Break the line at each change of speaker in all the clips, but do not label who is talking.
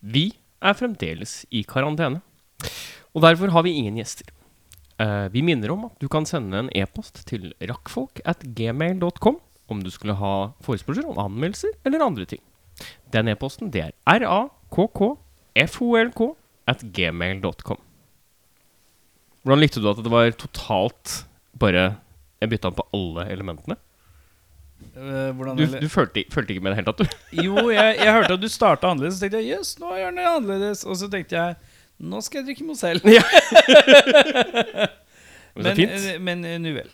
Vi er fremdeles i karantene, og derfor har vi ingen gjester. Eh, Vi minner om at du kan sende en e-post til rakkfolk at gmail.com om du skulle ha forespørsel om anmeldelser eller andre ting. Den e-posten det er rakkfolk at gmail.com. Hvordan likte du at det var totalt bare Jeg bytta på alle elementene.
Eh, hvordan
Du,
eller-
du følte, følte ikke med det hele tatt, du.
Jo, jeg, jeg hørte at du starta annerledes. Så tenkte jeg jøss, nå gjør han det annerledes. Og så tenkte jeg nå skal jeg drikke Mozell.
Men, så fint.
eh, men eh, nu vel.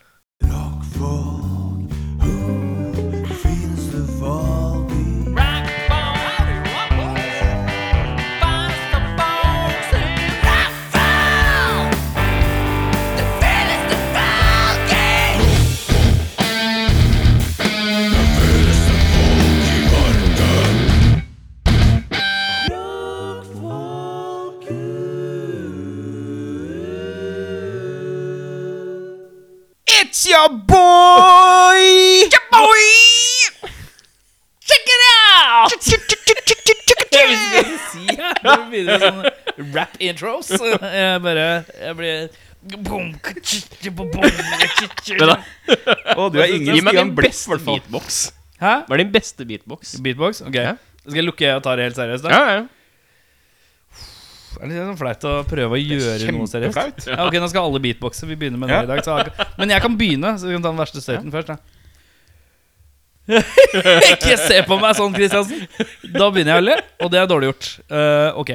It's your boy! Your boy! Check it out!
Jeg visste ikke hva jeg skulle si jeg. Når du begynner sånne rap-intros. Jeg bare Jeg blir
Det da.
Å, du er
Gi meg din beste beatbox.
Hæ?
Hva er din beste beatbox?
Beatbox? Ok.
Ja.
Skal jeg lukke øya og ta det helt seriøst? da?
Ja, ja.
Er det litt sånn flaut å prøve å gjøre noe seriøst?
kjempeflaut.
Ja, ok, Nå skal alle beatboxe. Vi begynner med det
Ja.
i dag. Så ak- men jeg kan begynne, så vi kan ta den verste støyten først. da Ikke se på meg sånn, Kristiansen! Da begynner jeg å le, og det er dårlig gjort. Eh, ok.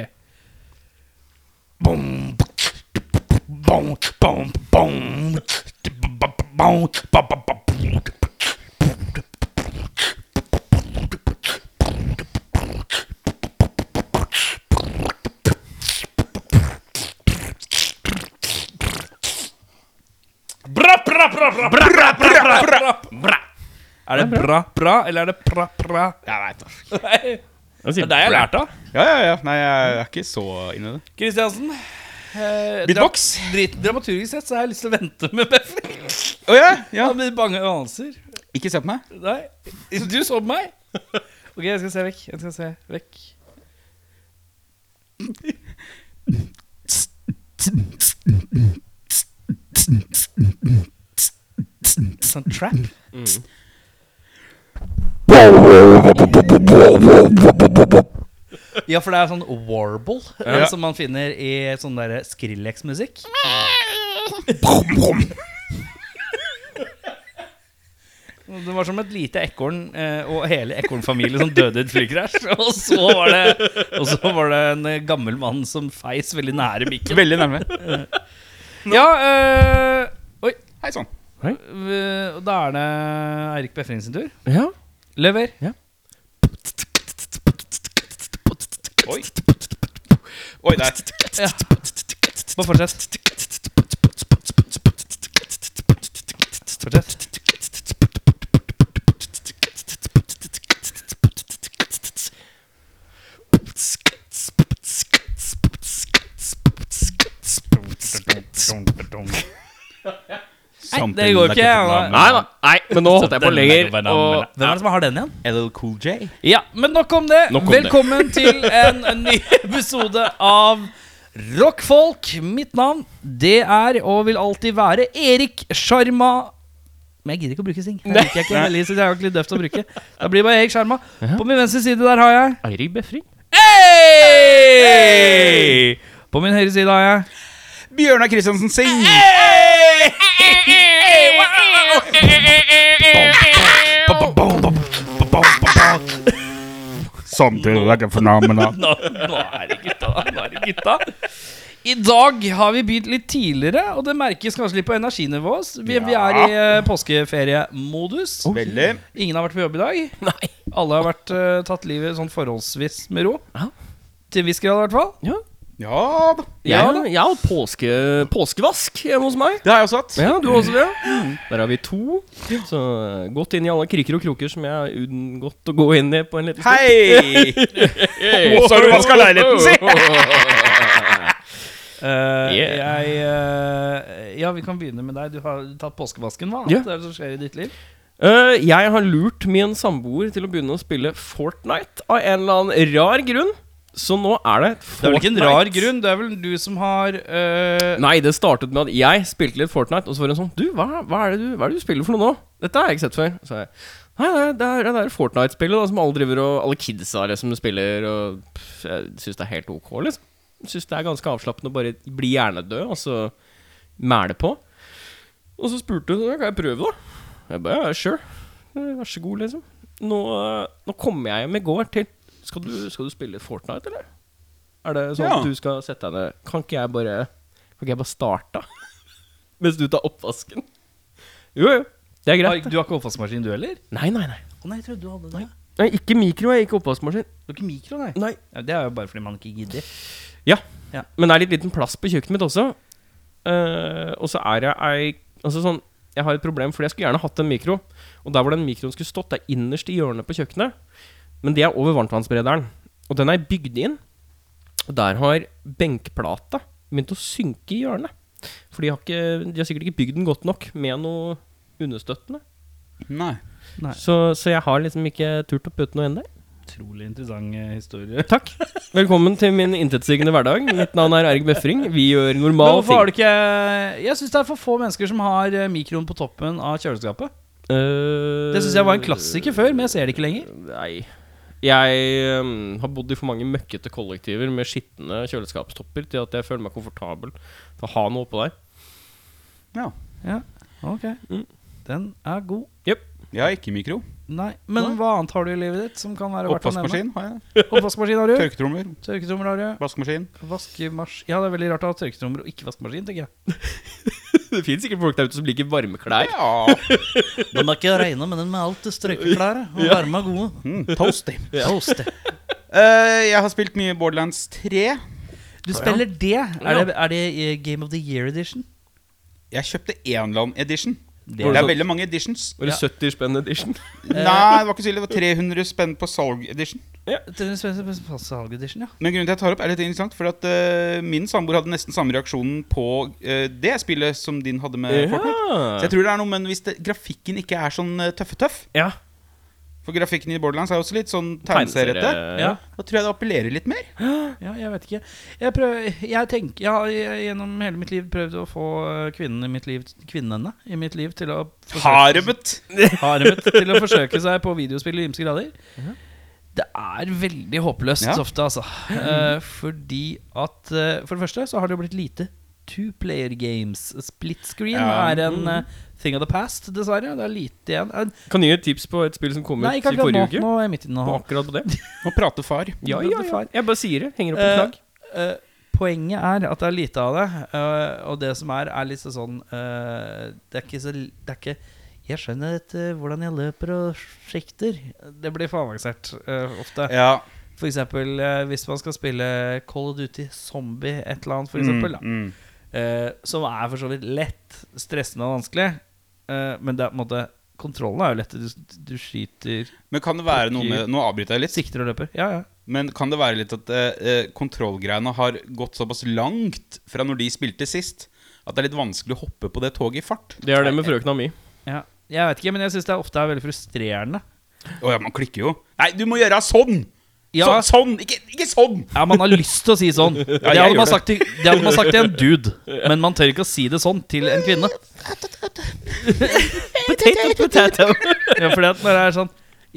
Bra, bra, bra, bra, bra, bra, bra, bra, bra. Er det bra, bra, eller er det pra, pra?
Jeg veit da.
Nei,
Jeg
Det
sier
er det jeg har
rap.
lært av.
Ja, ja, ja. Nei, jeg er ikke så inne i det.
Kristiansen. eh,
Beatbox?
dra- drit- Dramaturgisk sett så har jeg lyst til å vente med Beffer.
Å ja, ja.
Han blir bange anelser.
Ikke se på meg.
Nei, du så på meg. Ok, jeg skal se vekk. Jeg skal se vekk. Sånn trap. Ja, for det er sånn warble eh,
Ja.
som man finner i sånn der Skrillex-musikk. Det var som et lite ekorn eh, og hele ekornfamilien som døde i et flykrasj. Og så var det, og så var det en eh, gammel mann som feis veldig nære mikken.
Veldig nærme.
Ja, eh, oi.
Hei sånn. sann.
eh, Og da er det Eirik Befring sin tur.
Ja.
Løver.
Oi. Oi, der.
Bare fortsett. Fortsett. Nei, det går ikke.
Nei da. Nei, men nå holdt jeg på lenger. Og
Hvem er det som har den igjen?
LL Cool J.
Ja, men nok om det.
Nok om det.
Velkommen til en ny episode av Rockfolk. Mitt navn, det er og vil alltid være Erik Sjarma. Men jeg gidder ikke å bruke sing. Det liker jeg ikke
Nei.
veldig, så det er jo ikke litt døvt å bruke. Da blir det bare Erik Sjarma. På min venstre side der har jeg
Eirik Befring.
Hey! På min høyre side har jeg
Bjørnar Kristiansen Singh. Samtidig er det fornavnet.
nå, nå er det gutta. Nå er det gutta. I dag har vi begynt litt tidligere, og det merkes kanskje litt på energinivået. oss. Vi, vi er i eh, påskeferiemodus.
Veldig.
Ingen har vært på jobb i dag.
Nei.
Alle har vært, eh, tatt livet sånn forholdsvis med ro.
Ja.
Til en viss grad, i hvert fall.
Ja.
Ja da.
Jeg
Ja,
har
da.
jeg har påske, påskevask hjemme hos meg.
Det har jeg også hatt.
Ja, du også det? Der har vi to. Så gått inn i alle kriker og kroker som jeg har unngått å gå inn i på en liten
Hei! Å, så har du vaska leiligheten sin!
Eh, jeg, eh, ja, vi kan begynne med deg. Du har tatt påskevasken, hva?
Ja.
Det er det som skjer i ditt liv.
Eh, jeg har lurt min samboer til å begynne å spille Fortnite av en eller annen rar grunn. Så nå er det et
Det er vel ikke en
Fortnite.
rar grunn? Det er vel du som har øh,
Nei, det startet med at jeg spilte litt Fortnite, og så var det sånn Du, hva, hva, er det du, hva er det du spiller for noe nå? Dette har jeg ikke sett før. Så jeg Nei, nei, det er det der Fortnite-spillet da, som alle driver og Alle kidsa det som spiller, og pff, jeg syns det er helt ok, liksom. Syns det er ganske avslappende å bare bli hjernedød, og så mæle på. Og så spurte hun kan jeg prøve, da. Jeg bare ja, sure. Eh, Vær så god, liksom. Nå, eh, nå kommer jeg hjem i går til skal du, skal du spille Fortnite, eller? Er det sånn
Ja.
at du skal sette deg ned? Kan ikke jeg bare Kan ikke jeg bare starte? Mens du tar oppvasken? Jo, jo. Det er greit.
har- Du har ikke oppvaskmaskin, du heller?
Nei, nei, nei.
Å nei, jeg trodde du hadde det.
nei ikke mikro, jeg. Ikke oppvaskmaskin.
Du har ikke mikro, nei?
Nei.
Ja, det er jo bare fordi man ikke gidder.
Men det er litt liten plass på kjøkkenet mitt også. Eh, og så er jeg ei Altså sånn Jeg har et problem, fordi jeg skulle gjerne hatt en mikro. Og der hvor den mikroen skulle stått, det er innerst i hjørnet på kjøkkenet. Men det er over varmtvannsberederen. Og den er bygd inn. Og der har benkplata begynt å synke i hjørnet. For de har, ikke, de har sikkert ikke bygd den godt nok med noe understøttende.
Nei.
Nei.
Så, så jeg har liksom ikke turt å putte noe inn der.
Utrolig interessant eh, historie.
Takk. Velkommen til min intetsigende hverdag. Mitt navn er Erik Befring. Vi gjør
Men
normal
hvorfor
ting.
har du ikke eh, Jeg syns det er for få mennesker som har eh, mikroen på toppen av kjøleskapet. Det syns jeg var en klassiker før, men jeg ser det ikke lenger.
Eh, Nei. Jeg øhm, har bodd i for mange møkkete kollektiver med skitne kjøleskapstopper til at jeg føler meg komfortabel til å ha noe oppå der.
Ja.
Ok
Mm.
Den er god.
Jeg har ikke mikro.
Nei. Men
Nei.
hva annet har du i livet ditt som kan være verdt å nevne?
Oppvaskmaskin har jeg.
Oppvaskmaskin har du.
Tørketrommer.
Tørketrommel har du.
Vaskemaskin.
Vaskemaskin Ja, det er veldig rart å ha tørketrommel og ikke vaskemaskin, tenker jeg.
Det fins sikkert folk der ute som liker varme klær.
Ja.
Den er ikke reina, men den med alt det strøkeklær og varme og gode.
Mm, toasty.
Toast.
Eh, jeg har spilt mye Borderlands 3.
Du spiller det. Er det, er det eh, Game of the Year edition?
Jeg kjøpte Enland Edition.
Det
Det
er altså
er, Eh.
sant.
veldig mange editions.
Var det 70 spenn edition?
Nei, det var ikke så ille. Det var 300 spenn på salg edition.
Salg edition, ja.
Men grunnen til at jeg tar opp er litt interessant For at eh, min samboer hadde nesten samme reaksjonen på eh, det spillet som din hadde med Fortnite. Så jeg tror det er noe, men hvis det, grafikken ikke er sånn eh, tøffe-tøff
Ja.
For grafikken i Borderlands er også litt sånn tegneseriete.
Ja.
ja.
Da tror jeg det appellerer litt mer.
Ja, jeg vet ikke. Jeg, prøver, jeg, tenker, jeg har i- gjennom hele mitt liv prøvd å få eh, kvinnen i mitt liv, kvinnene i mitt liv til å
Haremet!
haremet til å forsøke seg på videospill i ymse grader.
Mhm.
Det er veldig håpløst
Ja.
ofte, altså. Eh, fordi at eh, For det første så har det jo blitt lite two player games. Split screen
Ja.
er en eh, thing of the past, dessverre. Det er lite igjen. Eh,
Kan du gi et tips på et spill som kom ut
nei,
i
ikke akkurat nå.
forrige uke?
Nå er jeg midt i den
På
nå.
akkurat på det?
Nå prater far.
Ja, ja, ja. Jeg bare sier det. Henger opp en
Eh,
flagg.
Eh, Poenget er at det er lite av det, eh, og det som er, er litt sånn eh, Det er ikke så Det er ikke Jeg skjønner ikke hvordan jeg løper og sikter. Det blir for avansert eh, ofte.
Ja.
For eksempel eh, hvis man skal spille Call of Duty Zombie et eller annet, for eksempel, da.
Mm,
Eh, som er for så vidt lett, stressende og vanskelig. Eh, men det er på en måte kontrollen er jo lett. Du, du skyter,
mm. Men kan det være noe med Nå avbryter jeg litt.
sikter og løper. Ja, ja.
Men kan det være litt at eh, eh, kontrollgreiene har gått såpass langt fra når de spilte sist, at det er litt vanskelig å hoppe på det toget i fart?
Det er det med frøkna
eh,
mi.
ja. Jeg vet ikke, men jeg syns det er ofte er veldig frustrerende.
Å ja, man klikker jo. Nei, du må gjøre sånn!
Ja,
Så, sånn! Ikke, ikke sånn!
ja, man har lyst til å si sånn. Det
jeg
hadde
gjør
man
det.
sagt til, det hadde man sagt til en dude, men man tør ikke å si det sånn til en kvinne.
Potato, potato.
Ja, fordi at når det er sånn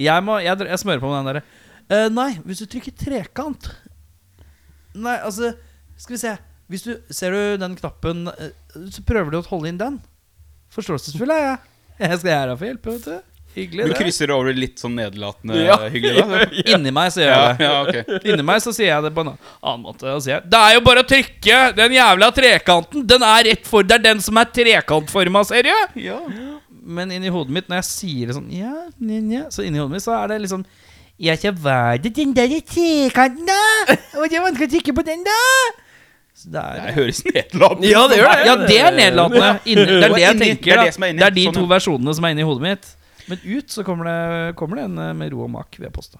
Jeg, må, jeg, dr- jeg smører på med den derre «Eh, Nei, hvis du trykker trekant Nei, altså Skal vi se Hvis du Ser du den knappen eh, Så prøver du å holde inn den Forståelsesfull er jeg Jeg skal gjøre det for hjelp, vet du Hyggelig
Du
det
krysser over litt sånn nederlatende
Ja.
hyggelig, da.
Inni meg så gjør
Ja,
jeg det
ja, ok.
Inni meg så sier jeg det på en annen måte og sier, jeg, Det er jo bare å trykke Den jævla trekanten Den er rett for Det er den som er trekantforma, ser du
Ja.
Men inni hodet mitt, når jeg sier det sånn Ja, nja, nja Så inni hodet mitt så er det liksom Ja, så var det den der i trekanten, da? Og det er vanskelig å trykke på den, da? Så det er
Det høres nederlatende
Ja, det gjør det.
Ja, det er nedlatende. Inni, det er det jeg
Inni, det er
tenker, da.
det som er inni.
Det er de
Sånn,
to
ja.
versjonene som er inni hodet mitt. Men ut så kommer det, kommer det en eh, med ro og mak, vil jeg påstå.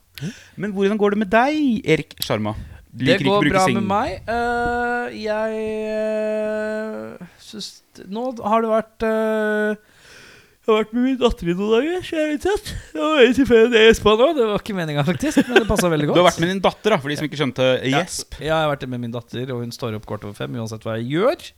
Men hvordan går det med deg, Erik Sjarma? Du
Det
liker ikke å
går
bruke
bra
sing-
med meg. Eh, jeg uh, syns Nå har det vært eh, Jeg har vært med min datter i noen dager, så jeg er litt trøtt. Det var veldig tilfeldig det gjespa nå. Det var ikke meninga, faktisk, men det passa veldig
Du
godt.
har vært med din datter, da, for de som ikke skjønte eh, gjesp.
Ja, jeg har vært med min datter, og hun står opp kvart over fem uansett hva jeg gjør.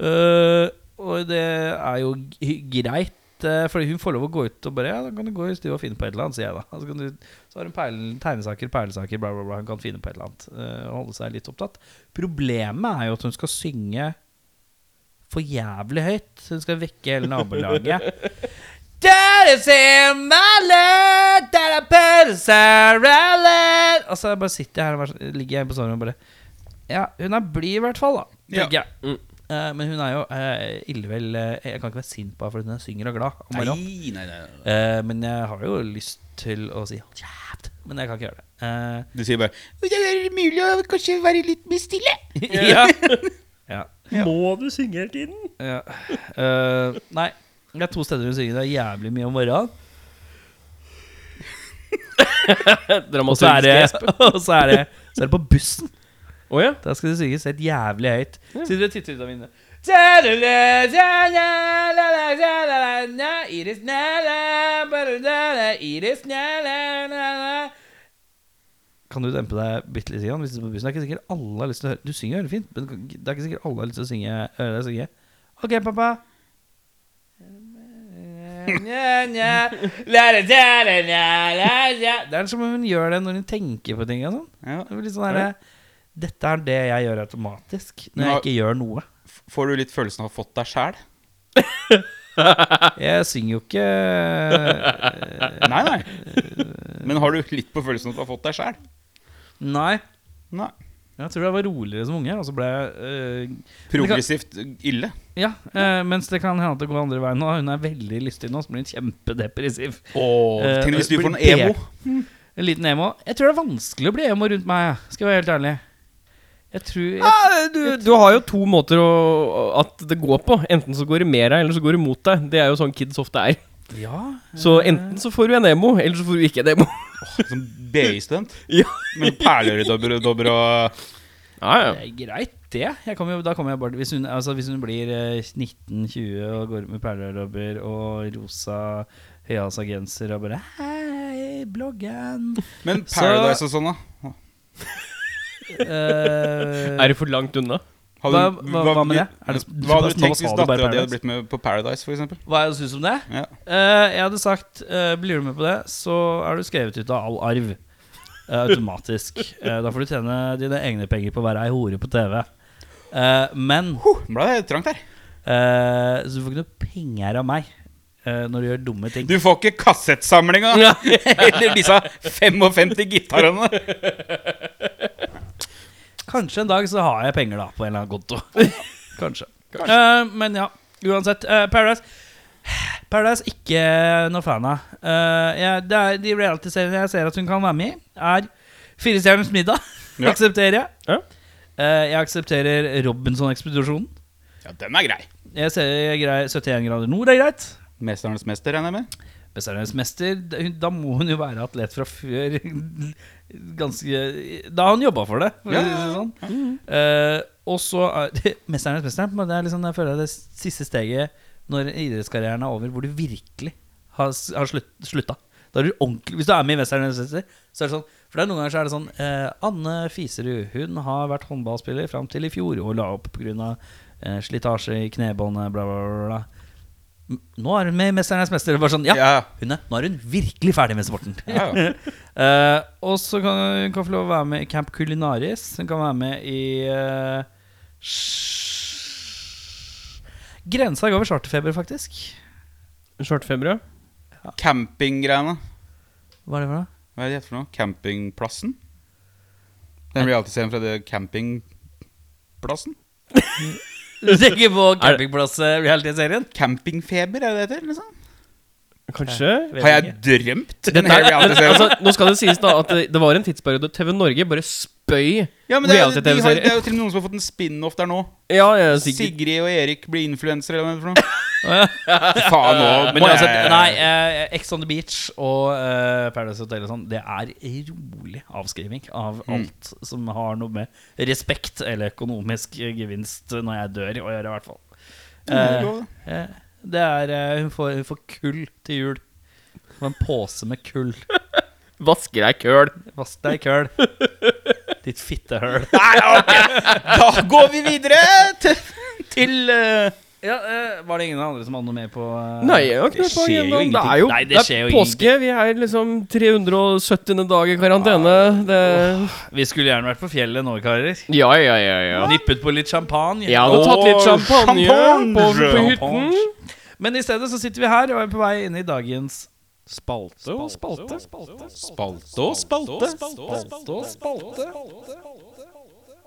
Eh, og det er jo g- greit, eh, Fordi hun får lov å gå ut og bare Ja, da kan du gå i stua og finne på et eller annet, sier jeg da. Så, kan du, så har hun perlen- tegnesaker, perlesaker, bla, bla, bla. Hun kan finne på et eller annet eh, og holde seg litt opptatt. Problemet er jo at hun skal synge for jævlig høyt. Hun skal vekke hele nabolaget. That is in my land, that I put us around. Og så bare sitter jeg her og bare sånn- ligger jeg på soverommet og bare Ja, hun er blid i hvert fall, da.
Ja. Mm.
Tenker jeg. Eh, men hun er jo eh, illevel eh, Jeg kan ikke være sint på henne fordi hun synger og glad. om morgenen.
Nei, nei, nei.
Eh, men jeg har jo lyst til å si hold kjeft, men jeg kan ikke gjøre det. Eh,
Du sier bare Det er mulig å kanskje være litt mer stille.
ja. ja.
Må du synge hele tiden?
Ja. Eh, nei. Det er to steder hun synger. Det er jævlig mye om morgenen. Og så
Eh,
er
Dramaturgisk gjesp.
det, og så er det, så er det på bussen.
Å ja.
Der skal det synges helt jævlig høyt.
Ja.
Sitter og titter ut av vinduet. Iris Iris Kan du dempe deg bitte litt? Jan, Hvis du er på bussen? Det er ikke sikkert alle har lyst til å høre Du synger veldig fint, men det er ikke sikkert alle har lyst til å synge, høre deg synge. OK, pappa. Det er som om hun gjør det når hun tenker på ting. og sånn
Ja.
det blir litt sånn der, Dette er det jeg gjør automatisk når
Nå-
jeg ikke gjør noe.
Får du litt følelsen av å ha fått deg sjæl?
Jeg synger jo ikke eh,
Nei, nei. Men har du litt på følelsen av at du har fått deg sjæl?
Nei.
Nei.
Jeg tror jeg var roligere som unge, og så ble jeg øh,
Progressivt eh, ille.
Ja, øh, mens det kan hende at det går andre veien nå. Hun er veldig lystig nå, så blir hun kjempedepressiv.
Åh,
Eh,
Tenk hvis du får en
blir
emo.
En liten emo. Jeg tror det er vanskelig å bli emo rundt meg, jeg. skal jeg være helt ærlig. Jeg tror jeg,
Du, du har jo to måter å, at det går på. Enten så går det med deg, eller så går det mot deg. Det er jo sånn kids ofte er.
Ja.
Så enten så får du en emo, eller så får du ikke en emo.
Som BI-student.
Ja.
Med perleøredobber og dobber og
Ja, ja.
Det er greit, det. Jeg kommer jo, da kommer jeg bare Hvis hun, altså, hvis hun blir eh, 19-20 og går med perlerødrobber og rosa høyhalsa genser og bare Hei, bloggen!
Men
Så-
Paradise og sånn,
Er
da?
Eh,
det for langt unna?
Hva- hva- hva med det? Er det-
hva hadde du
Nå
tenkt
sa
hvis
du bare
dattera di
Paradise.
hadde blitt med på Paradise, f.eks.?
hva jeg syns om det?
Ja.
Eh, jeg hadde sagt eh, Blir du med på det, så er du skrevet ut av all arv. eh, automatisk. Eh, da får du tjene dine egne penger på å være ei hore på TV. Eh, men
Huh, nå ble det trangt her.
eh, Så du får ikke noe penger av meg eh, når du gjør dumme ting.
Du får ikke kassettsamlinga eller disse 55 gitarene.
Kanskje en dag så har jeg penger da på en eller annen konto. Kanskje. Eh, men ja, uansett. eh, Paradise Paradise ikke noe fan av. Eh, jeg, det er, de realityseriene jeg ser at hun kan være med i, er Firestjerners middag.
Ja.
aksepterer jeg.
Ja.
Eh, jeg aksepterer Robinson-ekspedisjonen.
Ja, den er grei.
Jeg ser jeg greier 71 grader nord er greit.
Mesternes mester, regner jeg med.
Mesternes mester, da- hun- da må hun jo være atlet fra før. Ganske Da har hun jobba for det. For å si det sånn. Eh, og så er- Mesternes mester men det er liksom, jeg føler det er det siste steget når idrettskarrieren er over, hvor du virkelig har, s- har slutt, slutta. Da er du ordentlig, hvis du er med i Mesternes mester, så er det sånn For det er noen ganger så er det sånn eh, Anne Fiserud hun har vært håndballspiller fram til i fjor og la opp pga. Uh, slitasje i knebåndet, bla, bla, bla. bla. M- Nå er hun med i Mesternes mester. Det er Bare sånn, ja, hun er, nå er hun virkelig ferdig med sporten.
Ja, ja.
Eh, og så kan hun kan få lov å være med i Camp Culinaris. Hun kan være med i eh, sj- Grensa går over charterfeber, faktisk.
Svartfeber, ja.
Campinggreiene.
Hva er det for noe?
Hva er det det heter for noe? Campingplassen? Den realityserien fra det campingplassen?
Du tenker på campingplass-reality-serien?
Campingfeber, er det det heter? Liksom?
Kanskje?
Har jeg drømt
Dette
en hel
er,
realityserie?
altså, nå skal det sies da at det, det var en tidsperiode TV Norge bare spøy
Ja, men det er, de har, det
reality-TV-serier.
er jo til og med noen som har fått en spin-off der nå.
Ja, ja, sikkert.
Sigrid og Erik blir influensere, eller hva er det for noe? Faen nå,
Men
må jeg-
uansett, nei, eh, Ex on the Beach og eh, Paradise Hotel og sånn, det er rolig avskriving av
Mm.
alt som har noe med
Mm,
respekt eller økonomisk gevinst når jeg dør å gjøre, i hvert fall.
Det er lov,
Eh, Det er, eh, hun, får, hun får kull til jul. Hun får en pose med kull.
Vasker deg køl.
Vask deg i køl. Ditt fittehøl.
Nei, ok. Da går vi videre til, til eh,
Ja, eh, var det ingen andre som hadde noe mer på eh,
Nei, jeg har ikke noe på
skjer jo
agendaen. Det er
ingenting.
jo
Nei, det
det
skjer
er
jo
påske. Vi er liksom 370. dag i karantene. Det
Vi skulle gjerne vært på fjellet nå, karer.
Ja, ja, ja. ja.
Nippet på litt champagne.
Jeg hadde tatt litt
Åh,
champagne
champagne.
på, på hytten.
Men i stedet så sitter vi her og er på vei inn i dagens
Spalte og spalte.
Spalte og spalte.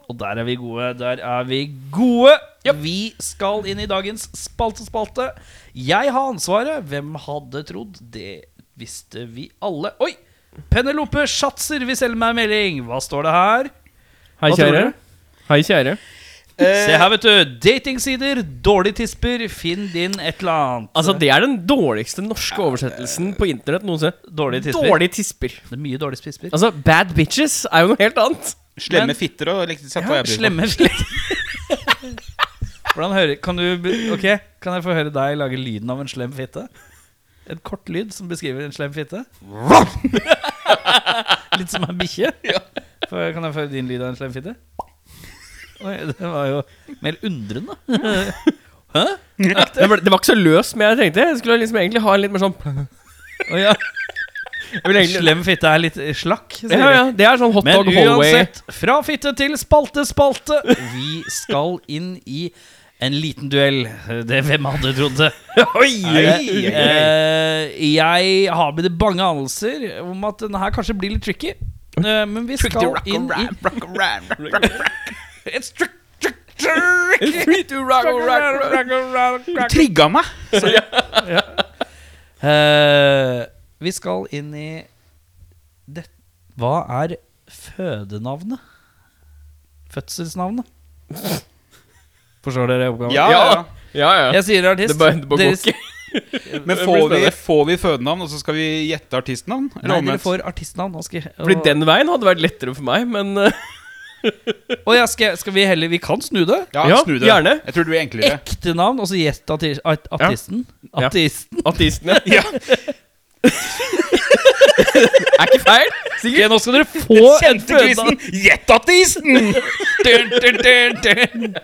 Og der er vi gode. Der er vi gode. Vi skal inn i dagens Spalte spalte. Jeg har ansvaret. Hvem hadde trodd? Det visste vi alle. Oi! Penelope Schatzer vil selge meg en melding. Hva står det her?
Hei,
Hva tror
kjære.
du?
Hei, kjære. Eh.
Se her, vet du. Datingsider, dårlig tisper, finn din et eller annet.
Altså, det er den dårligste norske oversettelsen på internett noensinne.
dårlig tisper.
Dårlig tisper.
Det er mye dårlig tisper.
Altså, bad bitches er jo noe helt annet.
Slemme
Men-
fitter og likte sette
Ja, slemme fitter. Hvordan hører Kan du be- Ok, kan jeg få høre deg lage lyden av en slem fitte? En kort lyd som beskriver en slem fitte? Litt som en bikkje? Får- Kan jeg få høre din lyd av en slem fitte? Oi, det var jo mer undrende.
Det var, det var ikke så løst som jeg tenkte. Jeg skulle liksom egentlig ha en litt mer sånn
Å ja.
jeg vil egentlig,
Slem fitte er litt eh, slakk. sier
ja,
de.
ja, Det er sånn hot
Men
dog hallway.
uansett, fra fitte til spalte, spalte. Vi skal inn i en liten duell. Det hvem hadde trodd det?
Oi!
Ei, ei, ei.
Eh, jeg har med det bange anelser om at denne her kanskje blir litt tricky. Eh, men vi skal inn i It's trick, trick, trick.
Three, two, rock, rock, rock.
Trigga meg!
Eh, Vi skal inn i det. Hva er fødenavnet? Fødselsnavnet? Forstår dere oppgaven?
Ja,
Ja.
ja.
Ja, ja.
Jeg sier artist.
Det bare- det bare går
Deres-
Men
Det blir
får vi,
spennende.
får vi fødenavn, og så skal vi gjette artistnavn? Eller
Nei, dere
omvendt?
får artistnavn. Nå skal jeg-
Fordi den veien hadde vært lettere for meg, men eh,
Å ja, skal, jeg- skal vi heller Vi kan snu det.
Ja,
Ja,
snu det.
gjerne.
Jeg tror det blir enklere.
Ekte navn, og så gjett arti- at- artisten.
Ja.
Artisten.
ateistene Er ikke feil. Sikkert.
Ok, nå skal dere få en fødenavn.
Kjente-quizen! Gjett-artisten!
Dun, dun, dun, dun.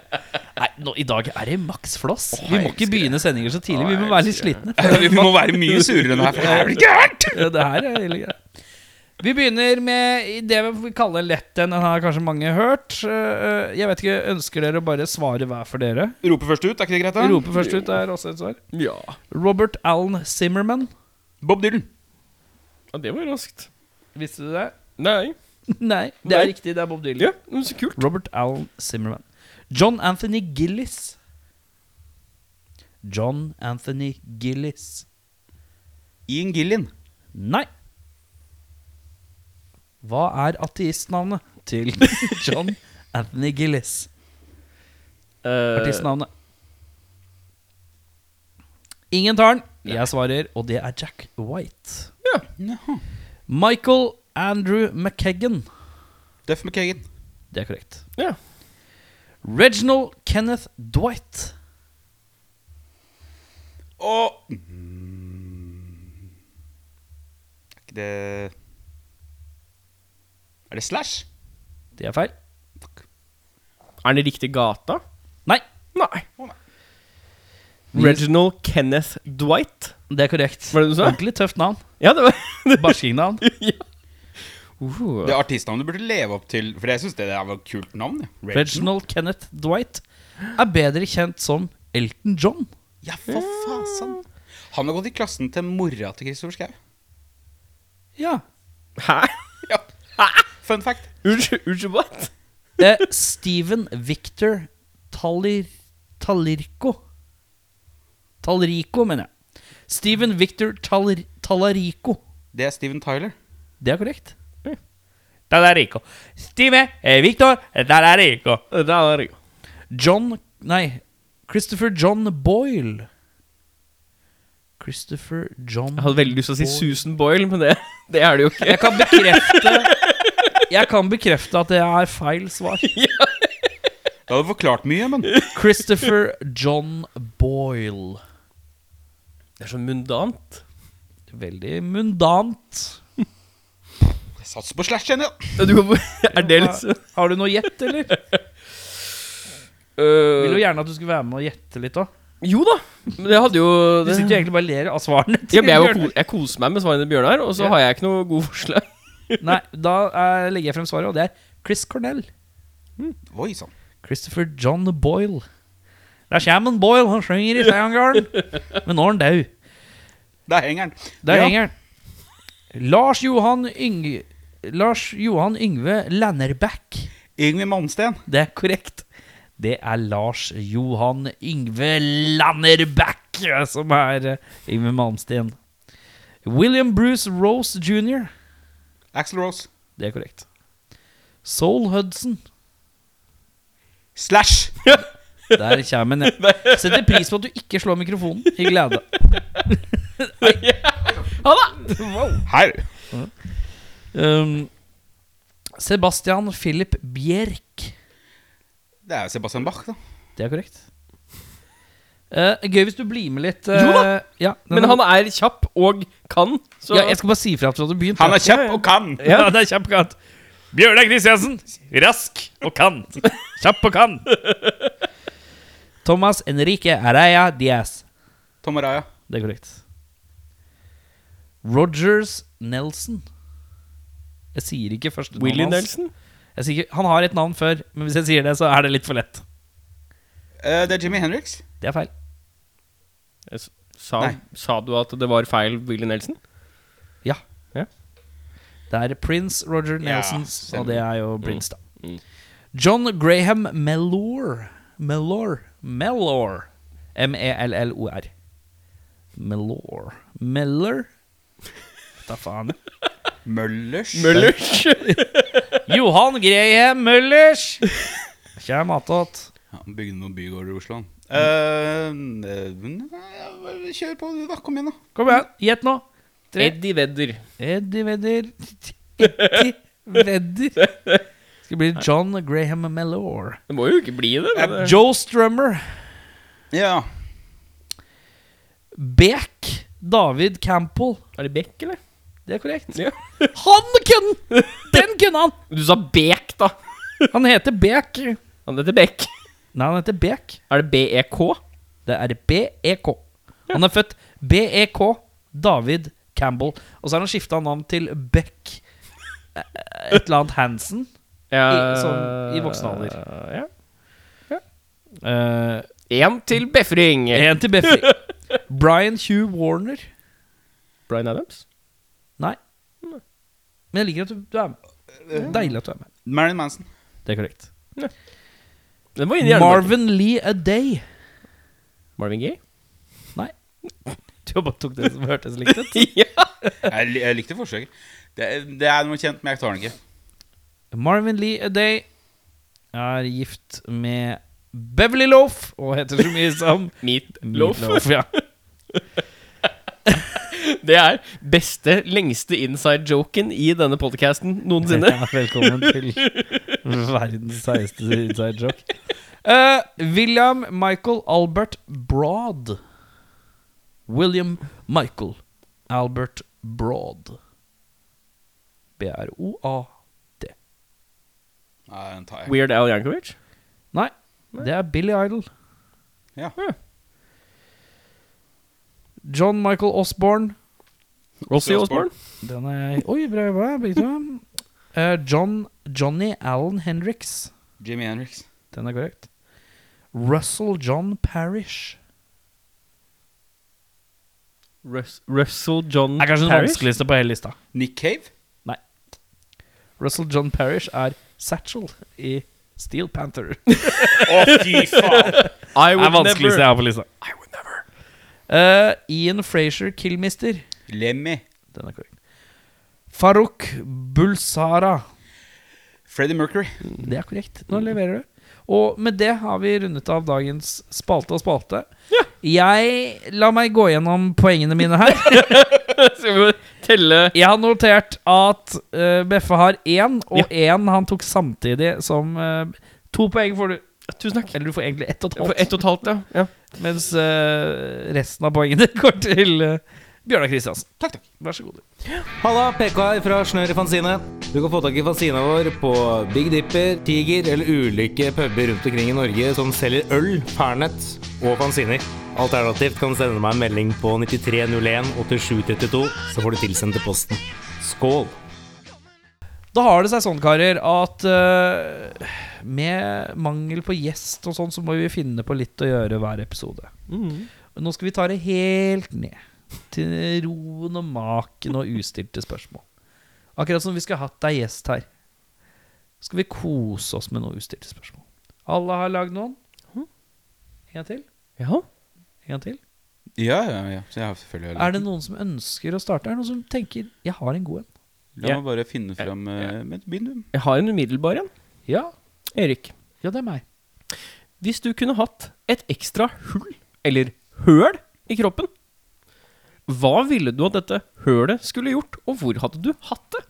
Nei, nå, i dag er det maks floss. Vi må ikke begynne sendinger så tidlig. Vi må være litt slitne.
Vi må være mye surere enn det her, for det her blir gærent!
Ja, Det her er hele greia. Vi begynner med i det vi kaller lett en. Den har kanskje mange hørt. Eh, Jeg vet ikke, Ønsker dere å bare svare hver for dere?
Rope først ut, er ikke det greit? da?
Rope først ut er også et svar.
Ja.
Robert Allen Zimmerman.
Bob Dylan.
ja, det var raskt.
Visste du det?
Nei.
Nei, det er
Nei.
riktig. Det er Bob Dylan.
Ja, men så kult.
Robert Allen Zimmerman. John Anthony Gillis. John Anthony Gillis.
Ian Gillan.
Nei. Hva er ateistnavnet til John Anthony Gillis?
Eh,
Artistnavnet. Ingen tar den. Jeg svarer, og det er Jack White.
Jaha.
Michael Andrew McKeggan.
Duff McKagan.
Det er korrekt.
ja.
Reginald Kenneth Dwight.
Og Mm. Er ikke det Er det Slash?
Det er feil.
Er den i riktig gata?
Nei.
Nei.
Å, nei.
Reginald Kenneth Dwight.
Det er korrekt.
Var det det du sa?
Ordentlig tøft navn.
Ja, det var
Barskingnavn.
uh.
Det artistnavnet du burde leve opp til, for jeg syns det er et kult navn. ja.
Reginald Kenneth Dwight er bedre kjent som Elton John.
Ja, for faen. Han har gått i klassen til mora til Kristoffer Schau.
Ja.
Hæ?
Ja. Fun fact.
Unnskyld, unnskyld, what?
Eh, Steven Victor Talir, Talirko. Talrico, mener jeg. Steven Victor Talir, Talarico.
Det er Steven Tyler.
Det er korrekt.
Ja.
Talarico. Steven eh, Victor Talarico.
Det er jo
John Nei, Christopher John Boyle. Christopher John
Jeg hadde veldig lyst til å si Susan Boyle, men det, det er det jo ikke.
Jeg kan bekrefte Jeg kan bekrefte at det er feil svar.
Det hadde forklart mye, men
Christopher John Boyle.
Det er så mundant.
Veldig mundant.
Jeg satser på slash igjen, ja.
Du kan, er det liksom
Har du noe gjett, eller? Vil jo
øh,
gjerne at du skulle være med og gjette litt òg.
Jo da, men det hadde jo
Du
det,
sitter jo egentlig bare og ler av svarene. til
ja, men jeg, var
Bjørnar.
ko- jeg koser meg med svarene til Bjørnar, og så
Ja.
har jeg ikke noe god forslag.
Nei, da eh, legger jeg frem svaret, og det er Chris Cornell.
Oi sånn. sann.
Christopher John Boyle. Der kommer en Boyle, han synger i Steinergarden. Men nå er han død.
Der henger den.
Der
Ja.
henger han. Lars Johan Yng... Lars Johan Yngve Lannerbæk.
Yngve Malmsten.
Det er korrekt. Det er Lars Johan Yngve Lannerbæk eh, som er eh, Yngve Malmsten. William Bruce Rose jr.
Axel Rose.
Det er korrekt. Soul Hudson.
Slash!
Der kommer den. ja. Setter pris på at du ikke slår mikrofonen. I glede.
Ha det!
Her.
Um, Sebastian Philip Bjerk.
Det er jo Sebastian Bach, da.
Det er korrekt. Eh, gøy hvis du blir med litt. eh,
Jo da!
Ja, den
Men
er-
han er kjapp og kan, så
ja, Jeg skal bare si ifra til at du begynte.
Han er kjapp og kan.
ja. det er kjempekatt. Bjørnar Kristiansen, rask og kan. Kjapp og kan. Thomas Enrique Araya Diaz.
Tom Araya.
Det er korrekt. Rogers Nelson. Jeg sier ikke først
Willy
hans.
Nelson?
Jeg sier ikke, han har et navn før, men hvis jeg sier det, så er det litt for lett.
Eh, det er Jimmy Henriks.
Det er feil.
Jeg s- Sa,
Nei.
sa du at det var feil Willy Nelson?
Ja.
Ja.
Det er prins Roger
Ja,
Nelson, og
stemmer.
det er jo prins, da.
Mm.
John Graham Mellor. Mellor. Mellor. E M-e-l-l-o-r. Mellor. Meller? Da faen.
Møllers.
Møllers!
Johan Graham Møllers! Kjær matåt.
Ja, han bygde noen bygårder i Oslo. han. Eh, eh, kjør på, du, da. Kom igjen, da.
Kom igjen, gjett nå. Tre.
Eddie Vedder.
Eddie Vedder. Eddie Vedder. Skal bli John Graham Mellor.
Det må jo ikke bli det. men det-
Joe Strummer.
Ja.
Beck. David Campbell.
Er det Beck, eller?
Det er korrekt.
Ja.
Han kunne! Den kunne han!
Du sa Beck, da.
Han heter Beck. Nei,
Han heter Beck.
han heter Beck.
Er det E BEK?
Det er BEK. Han er født BEK David Campbell. Og så har han skifta navn til Beck eh, et eller annet Hansen. I- sånn, i voksen alder.
Ja.
Eh,
En til befring.
en til Beffy. Brian Hugh Warner.
Bryan Adams.
Nei. Men jeg liker at du, du er med. Deilig at du er med.
Marilyn Manson.
Det er korrekt.
Den var inne i hjernen. Marvin.
Marvin Lee A Day.
Marvin Gaye.
Nei. Du bare tok det som hørtes likt ut.
ja.
Jeg, li- jeg likte forsøket. Det, er- det er noe kjent, men jeg tar den ikke.
Marvin Lee A Day er gift med Beverly Loaf og heter så mye som
Meat Loaf.
Meatloaf. Ja.
Det er beste, lengste inside-joken i denne podcasten noensinne.
Ja, velkommen til verdens seigeste inside joke. Eh, William Michael Albert Broad. William Michael Albert Broad. B-r-o-a-d.
Nei, den tar jeg.
Weird Al Yankovic.
Nei, det er Billy Idol.
Ja.
John Michael Osborne.
Ozzy Osbourne.
Osbourne.
Den er Oi, bra jobba, begge to. Eh, John Johnny Allen Hendricks.
Jimmy Henriks.
Den er korrekt. Russell John Parrish.
Rus Russell John
er kanskje den
Parrish?
vanskeligste på hele lista.
Nick Cave.
Russell John Parrish er Satchel i Steel Panther.
Å, fy faen!
I
Det er
would never.
vanskeligste jeg har på lista.
I would never.
Eh, Ian Frazier, Killmister.
Lemmy.
Den er korrekt. Farouk Bulsara.
Freddie Mercury.
Det er korrekt. Nå leverer du. Og med det har vi rundet av dagens spalte og spalte. Jeg La meg gå gjennom poengene mine her.
Skal vi telle
Jeg har notert at eh, Beffe har én, og én han tok samtidig som eh, To poeng får du.
Tusen takk.
Eller du får egentlig ett og et
For
halvt.
ett og et halvt, ja. ja.
Mens eh, resten av poengene går til eh, Bjørnar Kristiansen.
Takk, takk.
Vær så god. du.
Halla, PK her fra Snør i Fanzine. Du kan få tak i fanzina vår på Big Dipper, Tiger eller ulike puber rundt omkring i Norge som selger øl, Fernet og fanziner. Alternativt kan du sende meg en melding på 9301 8732, så får du tilsendt til posten. Skål!
Da har det seg sånn, karer, at eh, med mangel på gjest og sånn, så må vi finne på litt å gjøre hver episode.
Mm.
Nå skal vi ta det helt ned til roen og maken og ustilte spørsmål. Akkurat som vi skulle hatt deg gjest her. Skal vi kose oss med noen ustilte spørsmål. Alle har lagd noen. En gang til.
ja.
En gang til.
Ja, ja, ja. Så jeg har selvfølgelig
Er det noen som ønsker å starte? Er det noen som tenker 'jeg har en god en'?
La meg bare finne fram eh, Men begynn, du.
Jeg har en umiddelbar en.
Ja,
Erik,
ja det er meg.
hvis du kunne hatt et ekstra hull, eller høl, i kroppen, hva ville du at dette hølet skulle gjort, og hvor hadde du hatt det?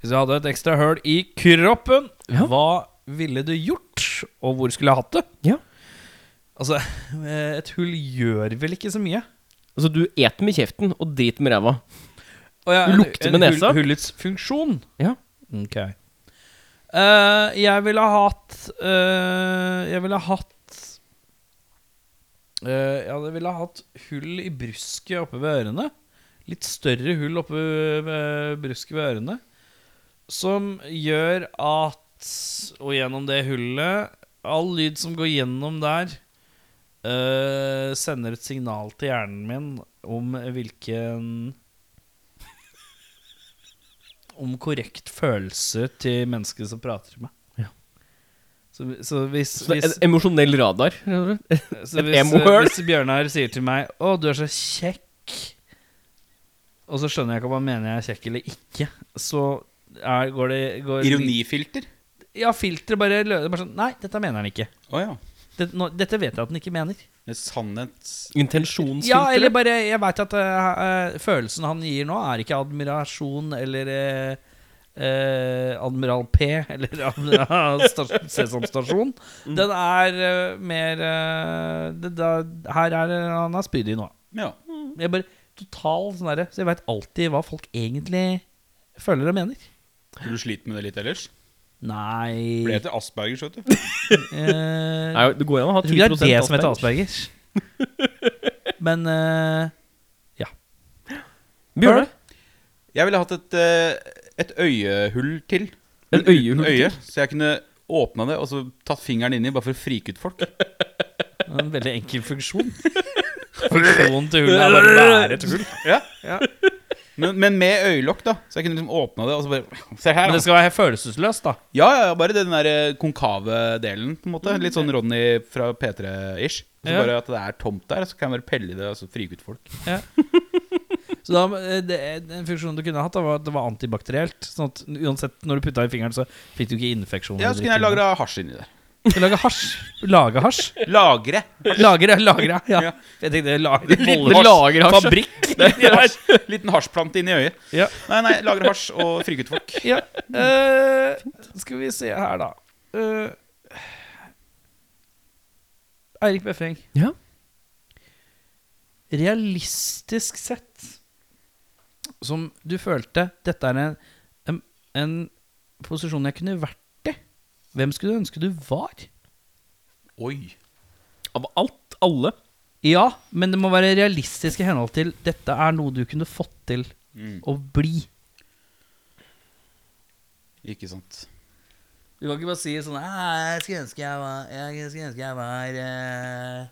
Hvis jeg hadde et ekstra høl i kroppen,
Ja.
hva ville du gjort? Og hvor skulle jeg hatt det?
Ja.
Altså, et hull gjør vel ikke så mye?
Altså, du et med kjeften og drit med ræva.
Å ja,
Du
en-
lukter med
en
nesa.
Hull, hullets funksjon.
Ja.
Ok. Eh, jeg ville ha hatt eh, Jeg ville ha hatt eh, Ja, jeg ville ha hatt hull i brusket oppe ved ørene. Litt større hull oppe ved brusket ved ørene. Som gjør at Og gjennom det hullet All lyd som går gjennom der, eh, sender et signal til hjernen min om hvilken om korrekt følelse til mennesket som prater til meg. Så, så hvis,
Så det er
hvis,
en emosjonell radar. rett og slett.
så
et
hvis,
emo-høl.
hvis Bjørnar sier til meg 'Å, du er så kjekk', og så skjønner jeg ikke om han mener jeg er kjekk eller ikke, så er, går det går,
Ironifilter.
Ja, filteret bare løser bare sånn Nei, dette mener han ikke.
Å ja.
Dette, nå, dette vet jeg at han ikke mener.
Det er Sannhets...
Intensjonsfilteret.
Ja, eller bare Jeg veit at eh, eh, følelsen han gir nå, er ikke admirasjon eller eh, eh, Admiral P eller Admiral Stas- Sesam Stasjon. Den er eh, mer eh, det, da, Her er eh, han er spydig nå.
Ja.
Jeg bare total sånn derre Så jeg veit alltid hva folk egentlig føler og mener.
Tror du sliter med det litt ellers?
Nei
Ble
eh,
det til Aspergers, vet du.
Nei, det går an å ha
Jeg tror
10
ikke det er det som heter
Asperger.
Aspergers. Men eh,
Bjørne,
Jeg ville hatt et, eh, et øyehull til.
Et øyehull
øye, Så jeg kunne åpna det og så tatt fingeren inni bare for å frike ut folk.
Det er En veldig enkel funksjon. Funksjonen til hullet er bare å være et hull.
Ja. Men, men med øyelokk, da. Så jeg kunne liksom åpna det og så bare Se her,
Men
da.
det skal være følelsesløst, da.
Ja, ja, ja, bare den der eh, konkave delen, på en måte. Litt sånn Ronny fra P3-ish. Så
Ja.
bare at det er tomt der, så kan jeg bare pelle i det og så frike ut folk.
Så da, eh, det, Den funksjonen du kunne hatt, da, var at det var antibakterielt. Sånn at uansett når du putta i fingeren, så fikk du ikke infeksjon.
Ja, så kunne jeg lagra hasj inni der.
Lage hasj. Lage hasj.
Lagre.
Lagre, lagre. Ja.
Ja.
Jeg tenkte lagre
det lager hasj.
Fabrikk.
Liten hasjplante inni øyet.
Ja.
Nei, nei, lagre hasj og frike ut folk.
Ja. eh, skal vi se her, da. Eh, Eirik Befring.
Ja.
Realistisk sett Som du følte Dette er en, en, en posisjon jeg kunne vært i. Hvem skulle du ønske du var?
Oi.
Av alt, alle
Ja, men det må være realistisk i henhold til dette er noe du kunne fått til å bli.
Ikke sant.
Du kan ikke bare si sånn «Ah, Jeg skulle ønske jeg var, jeg skulle ønske jeg var eh,